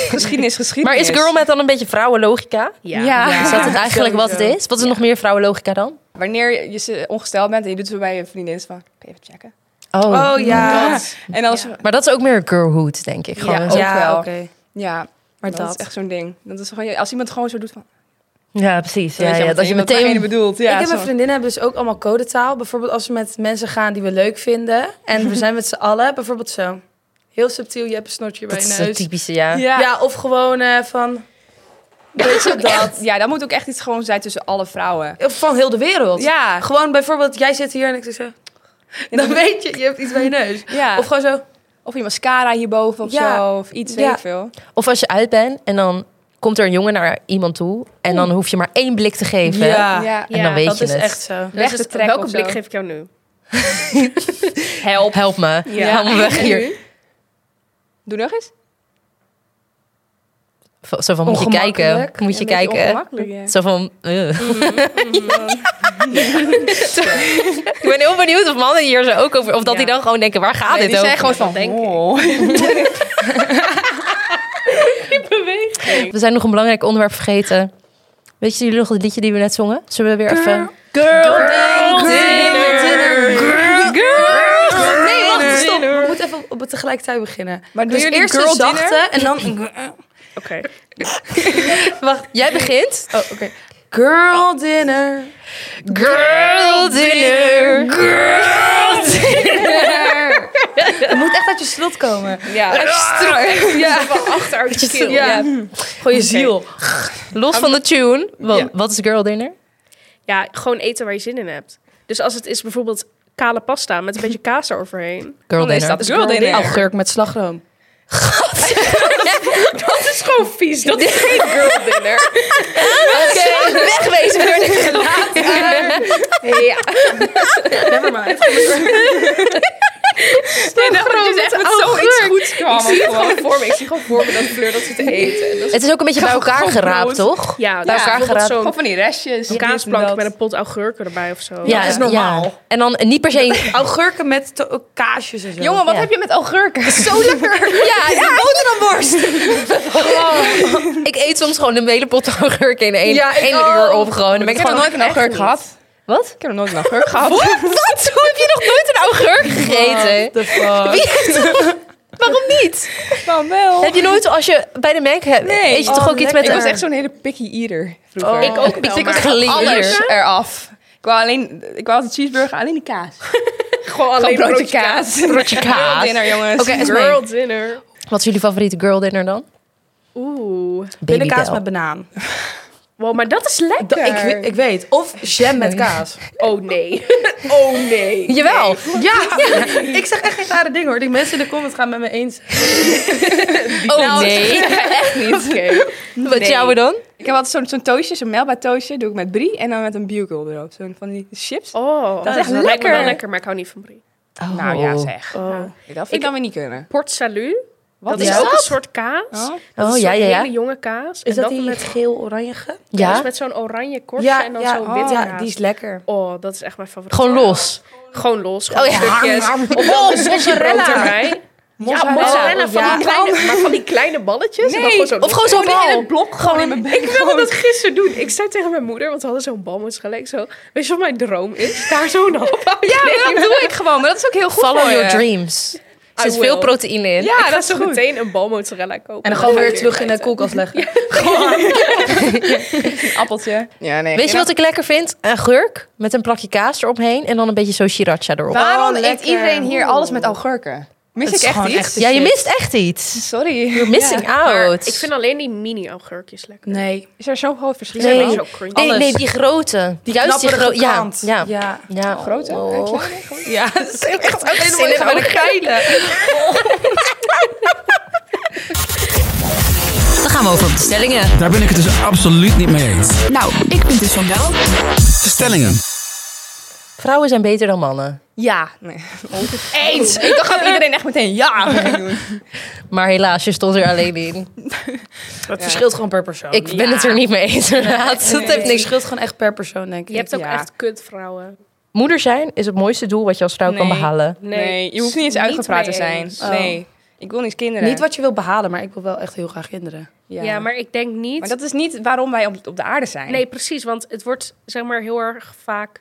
Speaker 5: geschiedenis,
Speaker 1: Maar
Speaker 5: geschiedenis.
Speaker 1: is Girl Met dan een beetje vrouwenlogica?
Speaker 3: Ja.
Speaker 5: Ja.
Speaker 1: Is dat het eigenlijk wat het
Speaker 5: sowieso.
Speaker 1: is? Wat is nog meer vrouwenlogica dan?
Speaker 5: Wanneer je- je ze- ongesteld bent en je doet het bij je vriendin, is van, kun je even checken?
Speaker 1: Oh.
Speaker 2: Oh ja.
Speaker 5: En als...
Speaker 3: Ja.
Speaker 5: Ja,
Speaker 1: Maar dat is ook meer girlhood, denk ik. Gewoon.
Speaker 5: Ja,
Speaker 1: een
Speaker 5: ook
Speaker 1: soort-
Speaker 5: wel.
Speaker 2: oké.
Speaker 5: maar
Speaker 2: Maar
Speaker 5: dat, is
Speaker 2: dat.
Speaker 5: echt zo'n ding. Dat is gewoon, als iemand gewoon zo doet van...
Speaker 1: ja precies.
Speaker 5: dan
Speaker 1: Ja,
Speaker 5: weet
Speaker 1: ja, dat je
Speaker 5: wat diegene
Speaker 1: meteen...
Speaker 5: bedoelt. Ja,
Speaker 2: ik en
Speaker 5: zo.
Speaker 2: mijn vriendinnen hebben dus ook allemaal codetaal. Bijvoorbeeld als we met mensen gaan die we leuk vinden. En we zijn met z'n allen. Bijvoorbeeld zo. Heel subtiel, je hebt een snortje
Speaker 1: Dat
Speaker 2: bij je
Speaker 1: is het
Speaker 2: neus.
Speaker 1: typische, ja.
Speaker 5: Ja.
Speaker 2: Ja, of gewoon eh, van... Weet je dat?
Speaker 5: Ja, dat moet ook echt iets gewoon zijn tussen alle vrouwen.
Speaker 2: Of Van heel de wereld.
Speaker 5: Ja.
Speaker 2: Gewoon bijvoorbeeld, jij zit hier en ik zeg zo... Dan weet je, je hebt iets bij je neus.
Speaker 5: ja.
Speaker 2: Of
Speaker 5: Of,
Speaker 2: gewoon zo...
Speaker 5: of je mascara hierboven of
Speaker 2: Ja.
Speaker 5: zo. Of iets,
Speaker 2: Ja.
Speaker 5: weet ik veel.
Speaker 1: Of als je uit bent en dan komt er een jongen naar iemand toe... en dan hoef je maar één blik te geven.
Speaker 2: Ja,
Speaker 1: En dan weet
Speaker 2: dat
Speaker 1: je
Speaker 2: is
Speaker 1: het.
Speaker 2: echt zo.
Speaker 3: Dus
Speaker 5: Weg
Speaker 3: het-
Speaker 5: te trekken
Speaker 3: welke
Speaker 5: of
Speaker 3: blik
Speaker 5: zo.
Speaker 3: geef ik jou nu?
Speaker 1: Help. Help me.
Speaker 3: Ja.
Speaker 1: Haal me weg hier.
Speaker 5: Doe nog eens.
Speaker 1: V- Zo van, moet je kijken. Moet je
Speaker 5: Een beetje
Speaker 1: kijken.
Speaker 5: ongemakkelijk, ja.
Speaker 1: Zo van... eh. ik ben heel benieuwd of mannen hier zo ook over... Of dat
Speaker 3: Ja.
Speaker 1: die dan gewoon denken, waar
Speaker 3: Ah,
Speaker 1: gaat
Speaker 5: Nee,
Speaker 1: dit
Speaker 5: die
Speaker 1: over?
Speaker 5: zijn gewoon van,
Speaker 3: denk ik.
Speaker 5: wow.
Speaker 1: We zijn nog een belangrijk onderwerp vergeten. Weet je jullie nog het liedje die we net zongen? Zullen we weer even... Girl,
Speaker 2: dinner, dinner,
Speaker 1: girl,
Speaker 2: Nee, wacht, stop. We moeten even op het tegelijkertijd beginnen.
Speaker 5: Maar doe
Speaker 2: Dus
Speaker 5: je die
Speaker 2: eerst
Speaker 5: girl
Speaker 2: een zachte
Speaker 5: dinner?
Speaker 2: en dan... een-
Speaker 3: Oké.
Speaker 1: Wacht, jij begint.
Speaker 2: Oh, oké. Girl dinner.
Speaker 1: Girl dinner. Girl
Speaker 2: Het moet echt uit je strot komen.
Speaker 5: Ja.
Speaker 3: Ja. Achteruit je keel.
Speaker 2: Ja. Gewoon je ziel.
Speaker 1: Los van de tune. Wat, wat is girl dinner?
Speaker 3: Ja, gewoon eten waar je zin in hebt. Dus als het is bijvoorbeeld kale pasta met een beetje kaas eroverheen.
Speaker 1: Girl
Speaker 5: Dan is
Speaker 1: dinner.
Speaker 5: dat girl dinner.
Speaker 2: Oh, gurk met slagroom.
Speaker 3: Dat is gewoon vies. Dat is geen girl dinner.
Speaker 1: Wegwezen.
Speaker 3: Ja.
Speaker 2: Never mind.
Speaker 5: En dat het dus echt met zoiets goeds kwam.
Speaker 3: Ik zie het gewoon voor me. Ik zie gewoon voor me dat Fleur dat zit te eten. En dat is-
Speaker 1: Het is ook een beetje bij elkaar geraapt, toch?
Speaker 3: Ja,
Speaker 1: Bij
Speaker 3: dat is
Speaker 1: elkaar
Speaker 3: bijvoorbeeld
Speaker 1: geraapt.
Speaker 5: Gewoon
Speaker 3: zo'n
Speaker 5: van die restjes.
Speaker 3: kaasplank
Speaker 5: Dit
Speaker 3: met
Speaker 5: en dat.
Speaker 3: een pot augurken erbij of zo.
Speaker 1: Ja,
Speaker 2: dat is normaal.
Speaker 1: ja. En dan niet per se...
Speaker 2: Augurken met to- ook kaasjes en zo.
Speaker 5: Jongen, wat
Speaker 1: Ja.
Speaker 5: heb je met augurken?
Speaker 1: Zo lekker! Ja, ja. boterhamworst! Ik eet soms gewoon een hele pot augurk in één,
Speaker 2: Ja, ik
Speaker 1: één
Speaker 2: ook.
Speaker 1: uur op gewoon. Dan ben
Speaker 5: Ik
Speaker 1: ik
Speaker 5: heb nog
Speaker 1: gewoon...
Speaker 5: nooit een augurk gehad.
Speaker 1: Wat?
Speaker 5: Ik heb nog nooit een augurk gehad.
Speaker 1: Wat? Hoe heb je nog nooit een augurk gegeten?
Speaker 2: the fuck?
Speaker 1: Wie heeft dat- Waarom niet?
Speaker 5: Nou, wel.
Speaker 1: Heb je nooit, als je bij de Mac hebt, eet
Speaker 5: Nee.
Speaker 1: je toch
Speaker 2: Oh,
Speaker 1: ook iets met
Speaker 5: Ik
Speaker 2: lekker.
Speaker 1: een... Oh,
Speaker 5: was echt zo'n hele picky eater vroeger.
Speaker 3: Ik ook wel,
Speaker 1: Ik was
Speaker 3: maar-
Speaker 1: geleerd.
Speaker 5: alles eraf. Ik wou alleen, ik wou altijd cheeseburger, alleen die kaas.
Speaker 3: Gewoon
Speaker 5: Alleen
Speaker 3: alleen
Speaker 5: broodje kaas.
Speaker 1: Broodje kaas.
Speaker 5: Girl dinner, jongens.
Speaker 1: Oké, Esme.
Speaker 3: Girl dinner.
Speaker 1: Wat is jullie favoriete girl dinner dan?
Speaker 3: Oeh.
Speaker 2: Binnenkaas
Speaker 1: Babybel.
Speaker 2: met banaan.
Speaker 3: Wow, maar dat is lekker.
Speaker 2: Dat, ik, we- ik weet. Of jam met kaas.
Speaker 3: Oh nee. Oh nee.
Speaker 1: Jawel.
Speaker 2: Ja, ik zeg echt geen rare dingen hoor. Die mensen in de comments gaan met me eens.
Speaker 1: Oh
Speaker 5: Nou,
Speaker 1: nee.
Speaker 5: echt niet.
Speaker 1: Wat jouwe dan?
Speaker 5: Ik heb altijd zo'n zo'n toastje, zo'n melba toastje, doe ik met brie en dan met een bugle erop. Zo'n van die chips.
Speaker 3: Oh, dat,
Speaker 5: is
Speaker 3: lijkt
Speaker 5: echt
Speaker 3: me wel
Speaker 5: lekker.
Speaker 3: lekker, maar ik hou niet van brie.
Speaker 1: Oh.
Speaker 5: Nou ja, zeg.
Speaker 3: Oh.
Speaker 5: Dat vind
Speaker 3: Ik-
Speaker 5: ik dan weer niet kunnen.
Speaker 3: Port salut.
Speaker 5: Wat
Speaker 3: dat is
Speaker 1: is
Speaker 3: ook
Speaker 1: dat?
Speaker 3: een soort kaas. Dat is
Speaker 5: Oh.
Speaker 1: Oh, ja,
Speaker 3: zo'n
Speaker 1: ja, ja.
Speaker 3: hele jonge
Speaker 2: Is
Speaker 3: kaas. en
Speaker 2: dat
Speaker 3: dan
Speaker 2: die met
Speaker 3: met,
Speaker 2: geel-oranje?
Speaker 3: ja?
Speaker 1: Ja?
Speaker 3: met zo'n oranje korstje en dan zo'n
Speaker 2: oh,
Speaker 3: witte
Speaker 2: ja,
Speaker 3: kaas.
Speaker 2: die is lekker.
Speaker 3: Oh, dat is echt mijn favoriet.
Speaker 1: Gewoon los.
Speaker 3: Gewoon los.
Speaker 1: Oh
Speaker 3: Gewoon
Speaker 1: ja.
Speaker 3: stukjes. Of wel een stukje brood erbij. Ja, mozzarella van,
Speaker 2: ja.
Speaker 3: Die kleine, maar van die kleine balletjes. en dan gewoon zo
Speaker 1: Of gewoon zo'n
Speaker 5: in
Speaker 1: bal.
Speaker 5: een blok gewoon in mijn bek.
Speaker 3: Ik wilde dat gisteren doen. Ik zei tegen mijn moeder, want we hadden zo'n bal met gelijk. Zo, weet je wat mijn droom is? Daar zo'n hap uit.
Speaker 5: Ja, maar dat doe ik gewoon. Maar dat is ook heel goed
Speaker 1: Follow
Speaker 5: voor
Speaker 1: your
Speaker 5: je.
Speaker 1: dreams. Er zit
Speaker 3: will.
Speaker 1: veel proteïne in.
Speaker 5: Ja,
Speaker 3: ik
Speaker 5: dat
Speaker 3: ga
Speaker 5: is
Speaker 3: zo
Speaker 5: goed.
Speaker 3: meteen een bal mozzarella kopen.
Speaker 2: En dan gewoon
Speaker 3: ga
Speaker 2: weer
Speaker 3: ik
Speaker 2: terug in de
Speaker 3: eten.
Speaker 2: koelkast leggen.
Speaker 5: Een appeltje. Ja, nee.
Speaker 1: Weet je wat ik lekker vind? Een gurk met een plakje kaas eromheen en dan een beetje zo sriracha erop.
Speaker 5: Waarom
Speaker 2: Oh,
Speaker 5: eet
Speaker 2: lekker.
Speaker 5: iedereen hier alles met augurken? Mis
Speaker 2: Het
Speaker 5: ik
Speaker 2: is
Speaker 5: echt
Speaker 2: gewoon
Speaker 5: iets?
Speaker 2: echt de
Speaker 1: Ja, je
Speaker 2: shit.
Speaker 1: mist echt iets.
Speaker 5: Sorry.
Speaker 1: You're missing
Speaker 3: Maar
Speaker 1: out.
Speaker 3: ik vind alleen die mini-augurkjes lekker.
Speaker 2: Nee,
Speaker 5: Is er zo'n groot verschil?
Speaker 3: Die zijn
Speaker 1: Nee.
Speaker 3: wel zo crunchy.
Speaker 1: nee,
Speaker 2: alles.
Speaker 1: nee, die grote.
Speaker 2: die
Speaker 1: Juist die
Speaker 2: knapperige
Speaker 1: grote. Ja,
Speaker 2: kant.
Speaker 1: ja.
Speaker 2: ja.
Speaker 1: ja.
Speaker 5: Grote?
Speaker 1: Oh.
Speaker 2: Ja, dat is echt ook
Speaker 1: zin in
Speaker 2: helemaal geile.
Speaker 1: Dan gaan we over op de stellingen.
Speaker 8: Daar ben ik het dus absoluut niet mee eens. Nou, ik vind dus van wel. De stellingen.
Speaker 1: Vrouwen zijn beter dan mannen.
Speaker 5: Ja. Nee. Eens. Ik dacht dat iedereen echt meteen ja ging doen.
Speaker 1: Maar helaas, je stond er alleen in.
Speaker 2: Het verschilt gewoon per persoon.
Speaker 1: Ik ben het er niet mee eens, inderdaad. Dat heeft
Speaker 2: Het
Speaker 1: niks.
Speaker 2: verschilt gewoon echt per persoon, denk ik.
Speaker 3: Je hebt ook
Speaker 5: Ja.
Speaker 3: echt kutvrouwen.
Speaker 1: Moeder zijn is het mooiste doel wat je als vrouw kan
Speaker 5: Nee.
Speaker 1: behalen.
Speaker 3: Nee,
Speaker 5: Nee, je hoeft niet eens
Speaker 3: niet
Speaker 5: uitgepraat te
Speaker 3: mee
Speaker 5: zijn.
Speaker 3: eens.
Speaker 5: Nee. Ik wil Oh. niet kinderen.
Speaker 2: Niet wat je wil behalen, maar ik wil wel echt heel graag kinderen.
Speaker 3: Ja. maar ik denk niet...
Speaker 5: Maar dat is niet waarom wij op, op de aarde zijn.
Speaker 3: Nee, precies. Want het wordt zeg maar heel erg vaak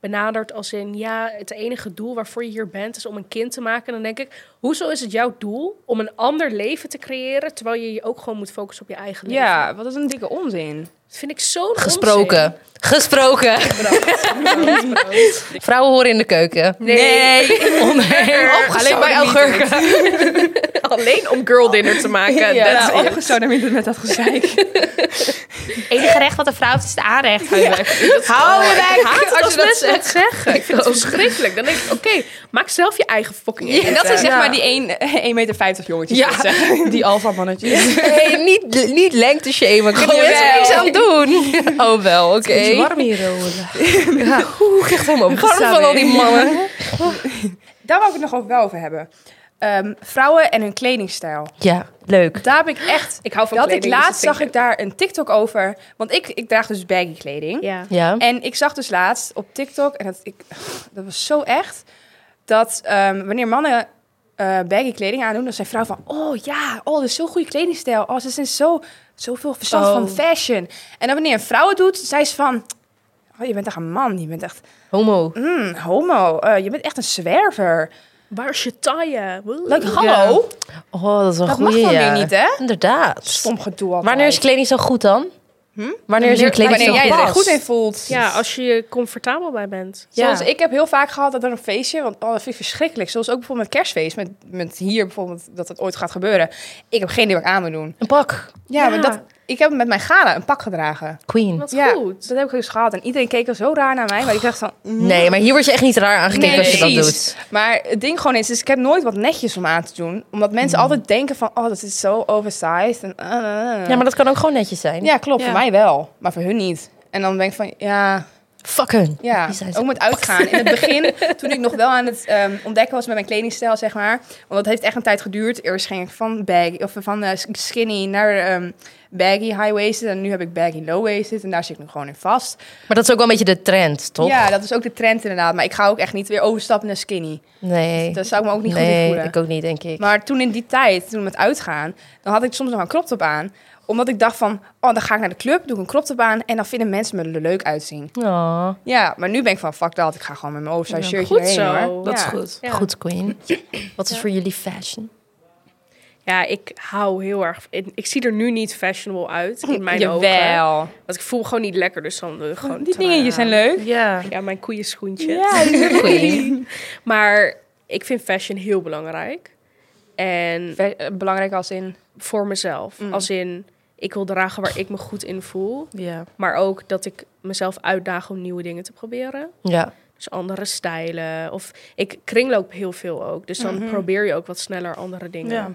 Speaker 3: benaderd als in ja, het enige doel waarvoor je hier bent is om een kind te maken. En dan denk ik, hoezo is het jouw doel om een ander leven te creëren terwijl je je ook gewoon moet focussen op je eigen leven?
Speaker 5: Ja, wat is een dikke onzin.
Speaker 3: Dat vind ik zo'n onzin.
Speaker 1: Gesproken. Gesproken. Vrouwen horen in de keuken.
Speaker 3: Nee.
Speaker 1: Alleen bij augurken.
Speaker 9: Alleen om girl dinner te maken.
Speaker 5: Ja,
Speaker 9: That's it.
Speaker 5: opgestoten met, met dat gezeik.
Speaker 9: enige recht wat een vrouw heeft is het aanrecht. Hou je bek als, je dat zegt. zeggen. Ik vind het verschrikkelijk. Dan denk ik, oké, maak zelf je eigen fucking
Speaker 5: En dat is zeg maar die 1,50 meter jongetjes.
Speaker 2: Ja.
Speaker 5: die het zeggen.
Speaker 2: Die alfa-mannetjes.
Speaker 1: Nee, niet, niet lengte shamen. Kunnen mensen niks aan doen? Oh, wel, oké.
Speaker 2: Het is warm hier, hoor.
Speaker 1: Warm van al die mannen.
Speaker 5: Daar wou ik het nog over wel over hebben. Ehm, vrouwen en hun kledingstijl.
Speaker 1: Ja, leuk.
Speaker 5: Daar heb ik echt...
Speaker 3: Ik hou van
Speaker 5: dat
Speaker 3: kleding,
Speaker 5: ik
Speaker 3: dus
Speaker 5: laatst
Speaker 3: dat
Speaker 5: zag
Speaker 3: vind
Speaker 5: ik daar een TikTok over. Want ik, ik draag dus baggy kleding.
Speaker 3: Ja.
Speaker 1: Ja.
Speaker 5: En ik zag dus laatst op TikTok, en dat, ik, dat was zo echt, dat ehm, wanneer mannen eh baggy kleding aandoen, dan zijn vrouwen van, oh ja, oh, dat is zo'n goede kledingstijl. Oh, ze zijn zo, zoveel verstand
Speaker 1: Oh.
Speaker 5: van fashion. En dan wanneer een vrouw het doet, zei ze van, oh, je bent echt een man, je bent echt
Speaker 1: Homo.
Speaker 5: mm, homo, eh, je bent echt een zwerver.
Speaker 3: Waar is je taille?
Speaker 5: Like, hallo,
Speaker 1: Oh, dat is wel
Speaker 5: dat
Speaker 1: goed.
Speaker 5: mag dan weer niet, hè?
Speaker 1: Inderdaad.
Speaker 5: Stom gedoe altijd.
Speaker 1: Wanneer is kleding zo goed dan? Hm? Wanneer is je kleding
Speaker 5: Wanneer
Speaker 1: zo
Speaker 5: jij je er
Speaker 1: goed?
Speaker 5: goed in voelt.
Speaker 3: Ja, als je je comfortabel bij bent.
Speaker 5: Zoals ik heb heel vaak gehad dat er een feestje, want oh, dat vind ik verschrikkelijk. Zoals ook bijvoorbeeld met kerstfeest, met, met hier bijvoorbeeld, dat het ooit gaat gebeuren. Ik heb geen idee wat ik aan moet doen.
Speaker 1: Een pak.
Speaker 5: Ja, maar dat, ik heb met mijn gala een pak gedragen.
Speaker 1: Queen.
Speaker 3: Wat
Speaker 5: Ja,
Speaker 3: goed.
Speaker 5: Dat heb ik dus gehad en iedereen keek al zo raar naar mij, maar ik dacht van... mm.
Speaker 1: Nee, maar hier word je echt niet raar aangekeken als je dat doet.
Speaker 5: Maar het ding gewoon is, is, ik heb nooit wat netjes om aan te doen. Omdat mensen altijd denken van, oh, dat is zo oversized. En, eh, eh, eh.
Speaker 1: Ja, maar dat kan ook gewoon netjes zijn.
Speaker 5: ja, klopt, voor mij wel, maar voor hun niet. En dan denk ik van, ja,
Speaker 1: Fuck hun.
Speaker 5: Ja,
Speaker 1: Die zijn zo-
Speaker 5: ook met uitgaan. In het begin, toen ik nog wel aan het ehm, ontdekken was met mijn kledingstijl, zeg maar. Want dat heeft echt een tijd geduurd. Eerst ging ik van, baggy, of van eh, skinny naar ehm, baggy high-waisted. En nu heb ik baggy low-waisted. En daar zit ik nu gewoon in vast.
Speaker 1: Maar dat is ook wel een beetje de trend, toch?
Speaker 5: Ja, dat is ook de trend inderdaad. Maar ik ga ook echt niet weer overstappen naar skinny.
Speaker 1: Nee.
Speaker 5: Dat zou ik me ook niet goed in
Speaker 1: nee,
Speaker 5: voelen.
Speaker 1: ik ook niet, denk ik.
Speaker 5: Maar toen in die tijd, toen met uitgaan, dan had ik soms nog een crop top aan. Omdat ik dacht van, oh, dan ga ik naar de club, doe ik een crop top aan. En dan vinden mensen me er leuk uitzien.
Speaker 1: Oh,
Speaker 5: Ja, maar nu ben ik van, fuck dat. Ik ga gewoon met mijn oversized shirtje
Speaker 3: goed
Speaker 5: erheen,
Speaker 3: zo.
Speaker 5: hoor.
Speaker 2: Dat is
Speaker 5: Ja.
Speaker 2: goed.
Speaker 3: Ja.
Speaker 1: Goed, Queen. Wat is voor jullie fashion?
Speaker 3: Ja, ik hou heel erg. Ik, ik zie er nu niet fashionable uit in mijn ogen.
Speaker 5: Jawel.
Speaker 3: Want ik voel me gewoon niet lekker, dus dan doe ik gewoon.
Speaker 5: Die
Speaker 3: te raar.
Speaker 5: dingetjes zijn leuk.
Speaker 2: Ja.
Speaker 3: Ja, mijn koeienschoentje.
Speaker 1: Queen.
Speaker 3: Maar ik vind fashion heel belangrijk. En
Speaker 5: eh, Belangrijk als in... Mm.
Speaker 3: voor mezelf. Als in, ik wil dragen waar ik me goed in voel.
Speaker 2: Ja.
Speaker 3: Maar ook dat ik mezelf uitdaag om nieuwe dingen te proberen.
Speaker 1: Ja.
Speaker 3: Dus andere stijlen. Of ik kringloop heel veel ook. Dus dan probeer je ook wat sneller andere dingen.
Speaker 2: Mhm. Ja.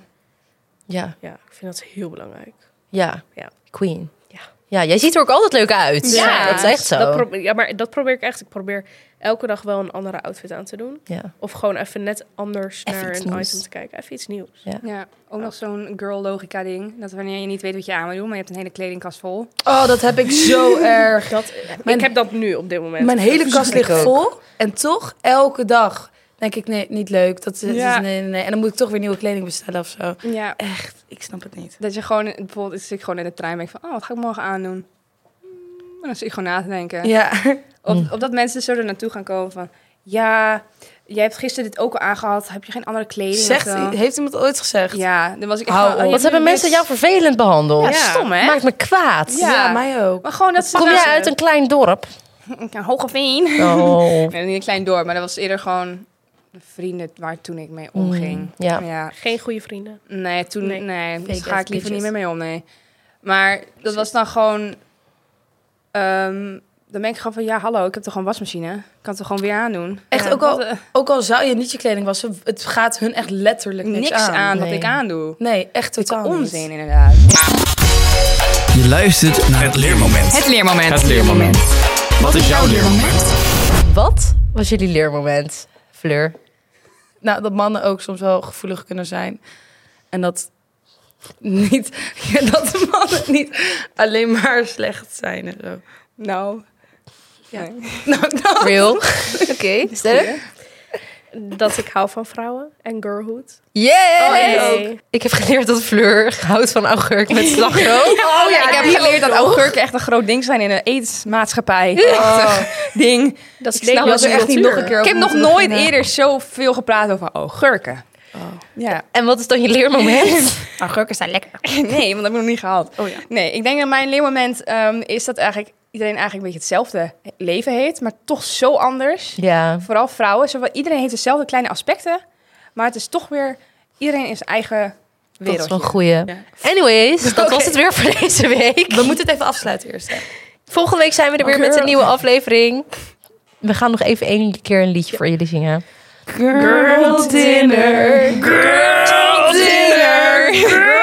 Speaker 3: Ja,
Speaker 1: Ja.
Speaker 3: ik vind dat heel belangrijk.
Speaker 1: Ja.
Speaker 3: Ja.
Speaker 1: Queen.
Speaker 3: Ja.
Speaker 1: Ja, jij ziet er ook altijd leuk uit.
Speaker 3: Ja.
Speaker 1: Dat is echt zo.
Speaker 3: Dat probeer, ja, maar dat probeer ik echt. Ik probeer elke dag wel een andere outfit aan te doen.
Speaker 1: ja.
Speaker 3: Of gewoon even net anders
Speaker 1: Even
Speaker 3: naar
Speaker 1: iets
Speaker 3: een
Speaker 1: nieuws.
Speaker 3: item te kijken. Even iets nieuws.
Speaker 5: Ja, ook nog zo'n girl logica ding. Dat wanneer je niet weet wat je aan moet doen, maar je hebt een hele kledingkast vol.
Speaker 2: Oh, dat heb ik zo erg. Mijn-
Speaker 3: ik heb dat nu op dit moment. Dus
Speaker 2: Mijn hele kast ligt
Speaker 1: ook.
Speaker 2: vol. En toch elke dag denk ik, nee, niet leuk. Dat, is-
Speaker 5: Ja.
Speaker 2: is, nee, nee, nee. En dan moet ik toch weer nieuwe kleding bestellen of zo.
Speaker 5: Ja.
Speaker 2: Echt, ik snap het niet.
Speaker 5: Dat je gewoon, bijvoorbeeld zit ik gewoon in de trein en denk van, oh, wat ga ik morgen aandoen? Hmm, En dan zit ik gewoon na te denken.
Speaker 2: Ja.
Speaker 5: Op, op dat mensen zo er naartoe gaan komen van, ja, jij hebt gisteren dit ook al aangehad. Heb je geen andere kleding? of
Speaker 2: Zegt,
Speaker 5: zo?
Speaker 2: heeft iemand ooit gezegd?
Speaker 5: Ja, dan was
Speaker 3: Oh,
Speaker 5: ik echt
Speaker 2: Hou
Speaker 5: van, oh,
Speaker 2: op.
Speaker 5: je
Speaker 1: Wat
Speaker 5: hebt
Speaker 1: hebben
Speaker 5: nu
Speaker 1: mensen
Speaker 5: niks-
Speaker 1: jou vervelend behandeld?
Speaker 5: Ja, stom hè?
Speaker 1: Maakt me kwaad.
Speaker 5: Ja.
Speaker 2: Ja, mij ook.
Speaker 5: Maar gewoon dat ze...
Speaker 1: Kom
Speaker 5: dan-
Speaker 1: jij uit een klein dorp?
Speaker 5: Ja, Hogeveen.
Speaker 1: Oh.
Speaker 5: Nee, niet een klein dorp, maar dat was eerder gewoon de vrienden waar toen ik mee omging.
Speaker 1: Mm, ja.
Speaker 3: Geen goede vrienden.
Speaker 5: Nee, toen nee,
Speaker 3: Nee,
Speaker 5: daar
Speaker 2: fake
Speaker 5: ga
Speaker 2: ass
Speaker 5: ik liever
Speaker 2: bitches.
Speaker 5: niet meer mee om, nee. Maar dat was dan gewoon... ehm, dan ben ik gewoon van, ja, hallo, ik heb toch gewoon wasmachine? Ik kan het toch gewoon weer aandoen?
Speaker 2: Echt,
Speaker 5: Ja,
Speaker 2: ook al-
Speaker 5: wat, eh,
Speaker 2: Ook al zou je niet je kleding wassen, het gaat hun echt letterlijk niks,
Speaker 5: niks aan, wat
Speaker 1: nee.
Speaker 5: ik aandoe.
Speaker 2: Nee, echt totaal niet.
Speaker 5: Onzin, inderdaad.
Speaker 8: Je luistert naar het leermoment.
Speaker 7: Het leermoment.
Speaker 8: Het leermoment. Wat is jouw leermoment?
Speaker 1: Wat was jullie leermoment? Fleur.
Speaker 2: nou, dat mannen ook soms wel gevoelig kunnen zijn. En dat niet, ja, dat de mannen niet alleen maar slecht zijn en zo.
Speaker 5: Nou,
Speaker 2: Nou, dat-
Speaker 1: Real.
Speaker 3: Oké.
Speaker 1: Sterk?
Speaker 3: Dat ik hou van vrouwen en girlhood.
Speaker 1: Yes!
Speaker 3: Oh, ik ook.
Speaker 1: Ik heb geleerd dat Fleur houdt van augurk met slagroom.
Speaker 5: oh ja, ik heb geleerd dat augurken echt een groot ding zijn in een eetmaatschappij. Echt een ding.
Speaker 3: Dat is
Speaker 5: Ik snap dat
Speaker 3: Nederlandse
Speaker 5: er echt niet nog
Speaker 3: cultuur.
Speaker 5: een keer Ik heb nog nooit eerder zoveel gepraat over augurken. Ja.
Speaker 1: En wat is dan je leermoment?
Speaker 7: Augurken zijn lekker.
Speaker 5: Nee, want dat heb ik nog niet gehad.
Speaker 3: Oh ja.
Speaker 5: Nee, ik denk dat mijn leermoment ehm, is dat eigenlijk iedereen eigenlijk een beetje hetzelfde leven heeft, maar toch zo anders.
Speaker 1: ja.
Speaker 5: Vooral vrouwen. Zowel, iedereen heeft dezelfde kleine aspecten, maar het is toch weer iedereen in zijn eigen
Speaker 1: Dat is wel een
Speaker 5: wereld.
Speaker 1: goeie. Anyways, Dus dat was het weer voor deze week.
Speaker 2: We moeten het even afsluiten eerst. Hè.
Speaker 1: Volgende week zijn we er weer met een nieuwe aflevering. We gaan nog even één keer een liedje voor jullie zingen.
Speaker 2: Girl dinner. Girl dinner. Girl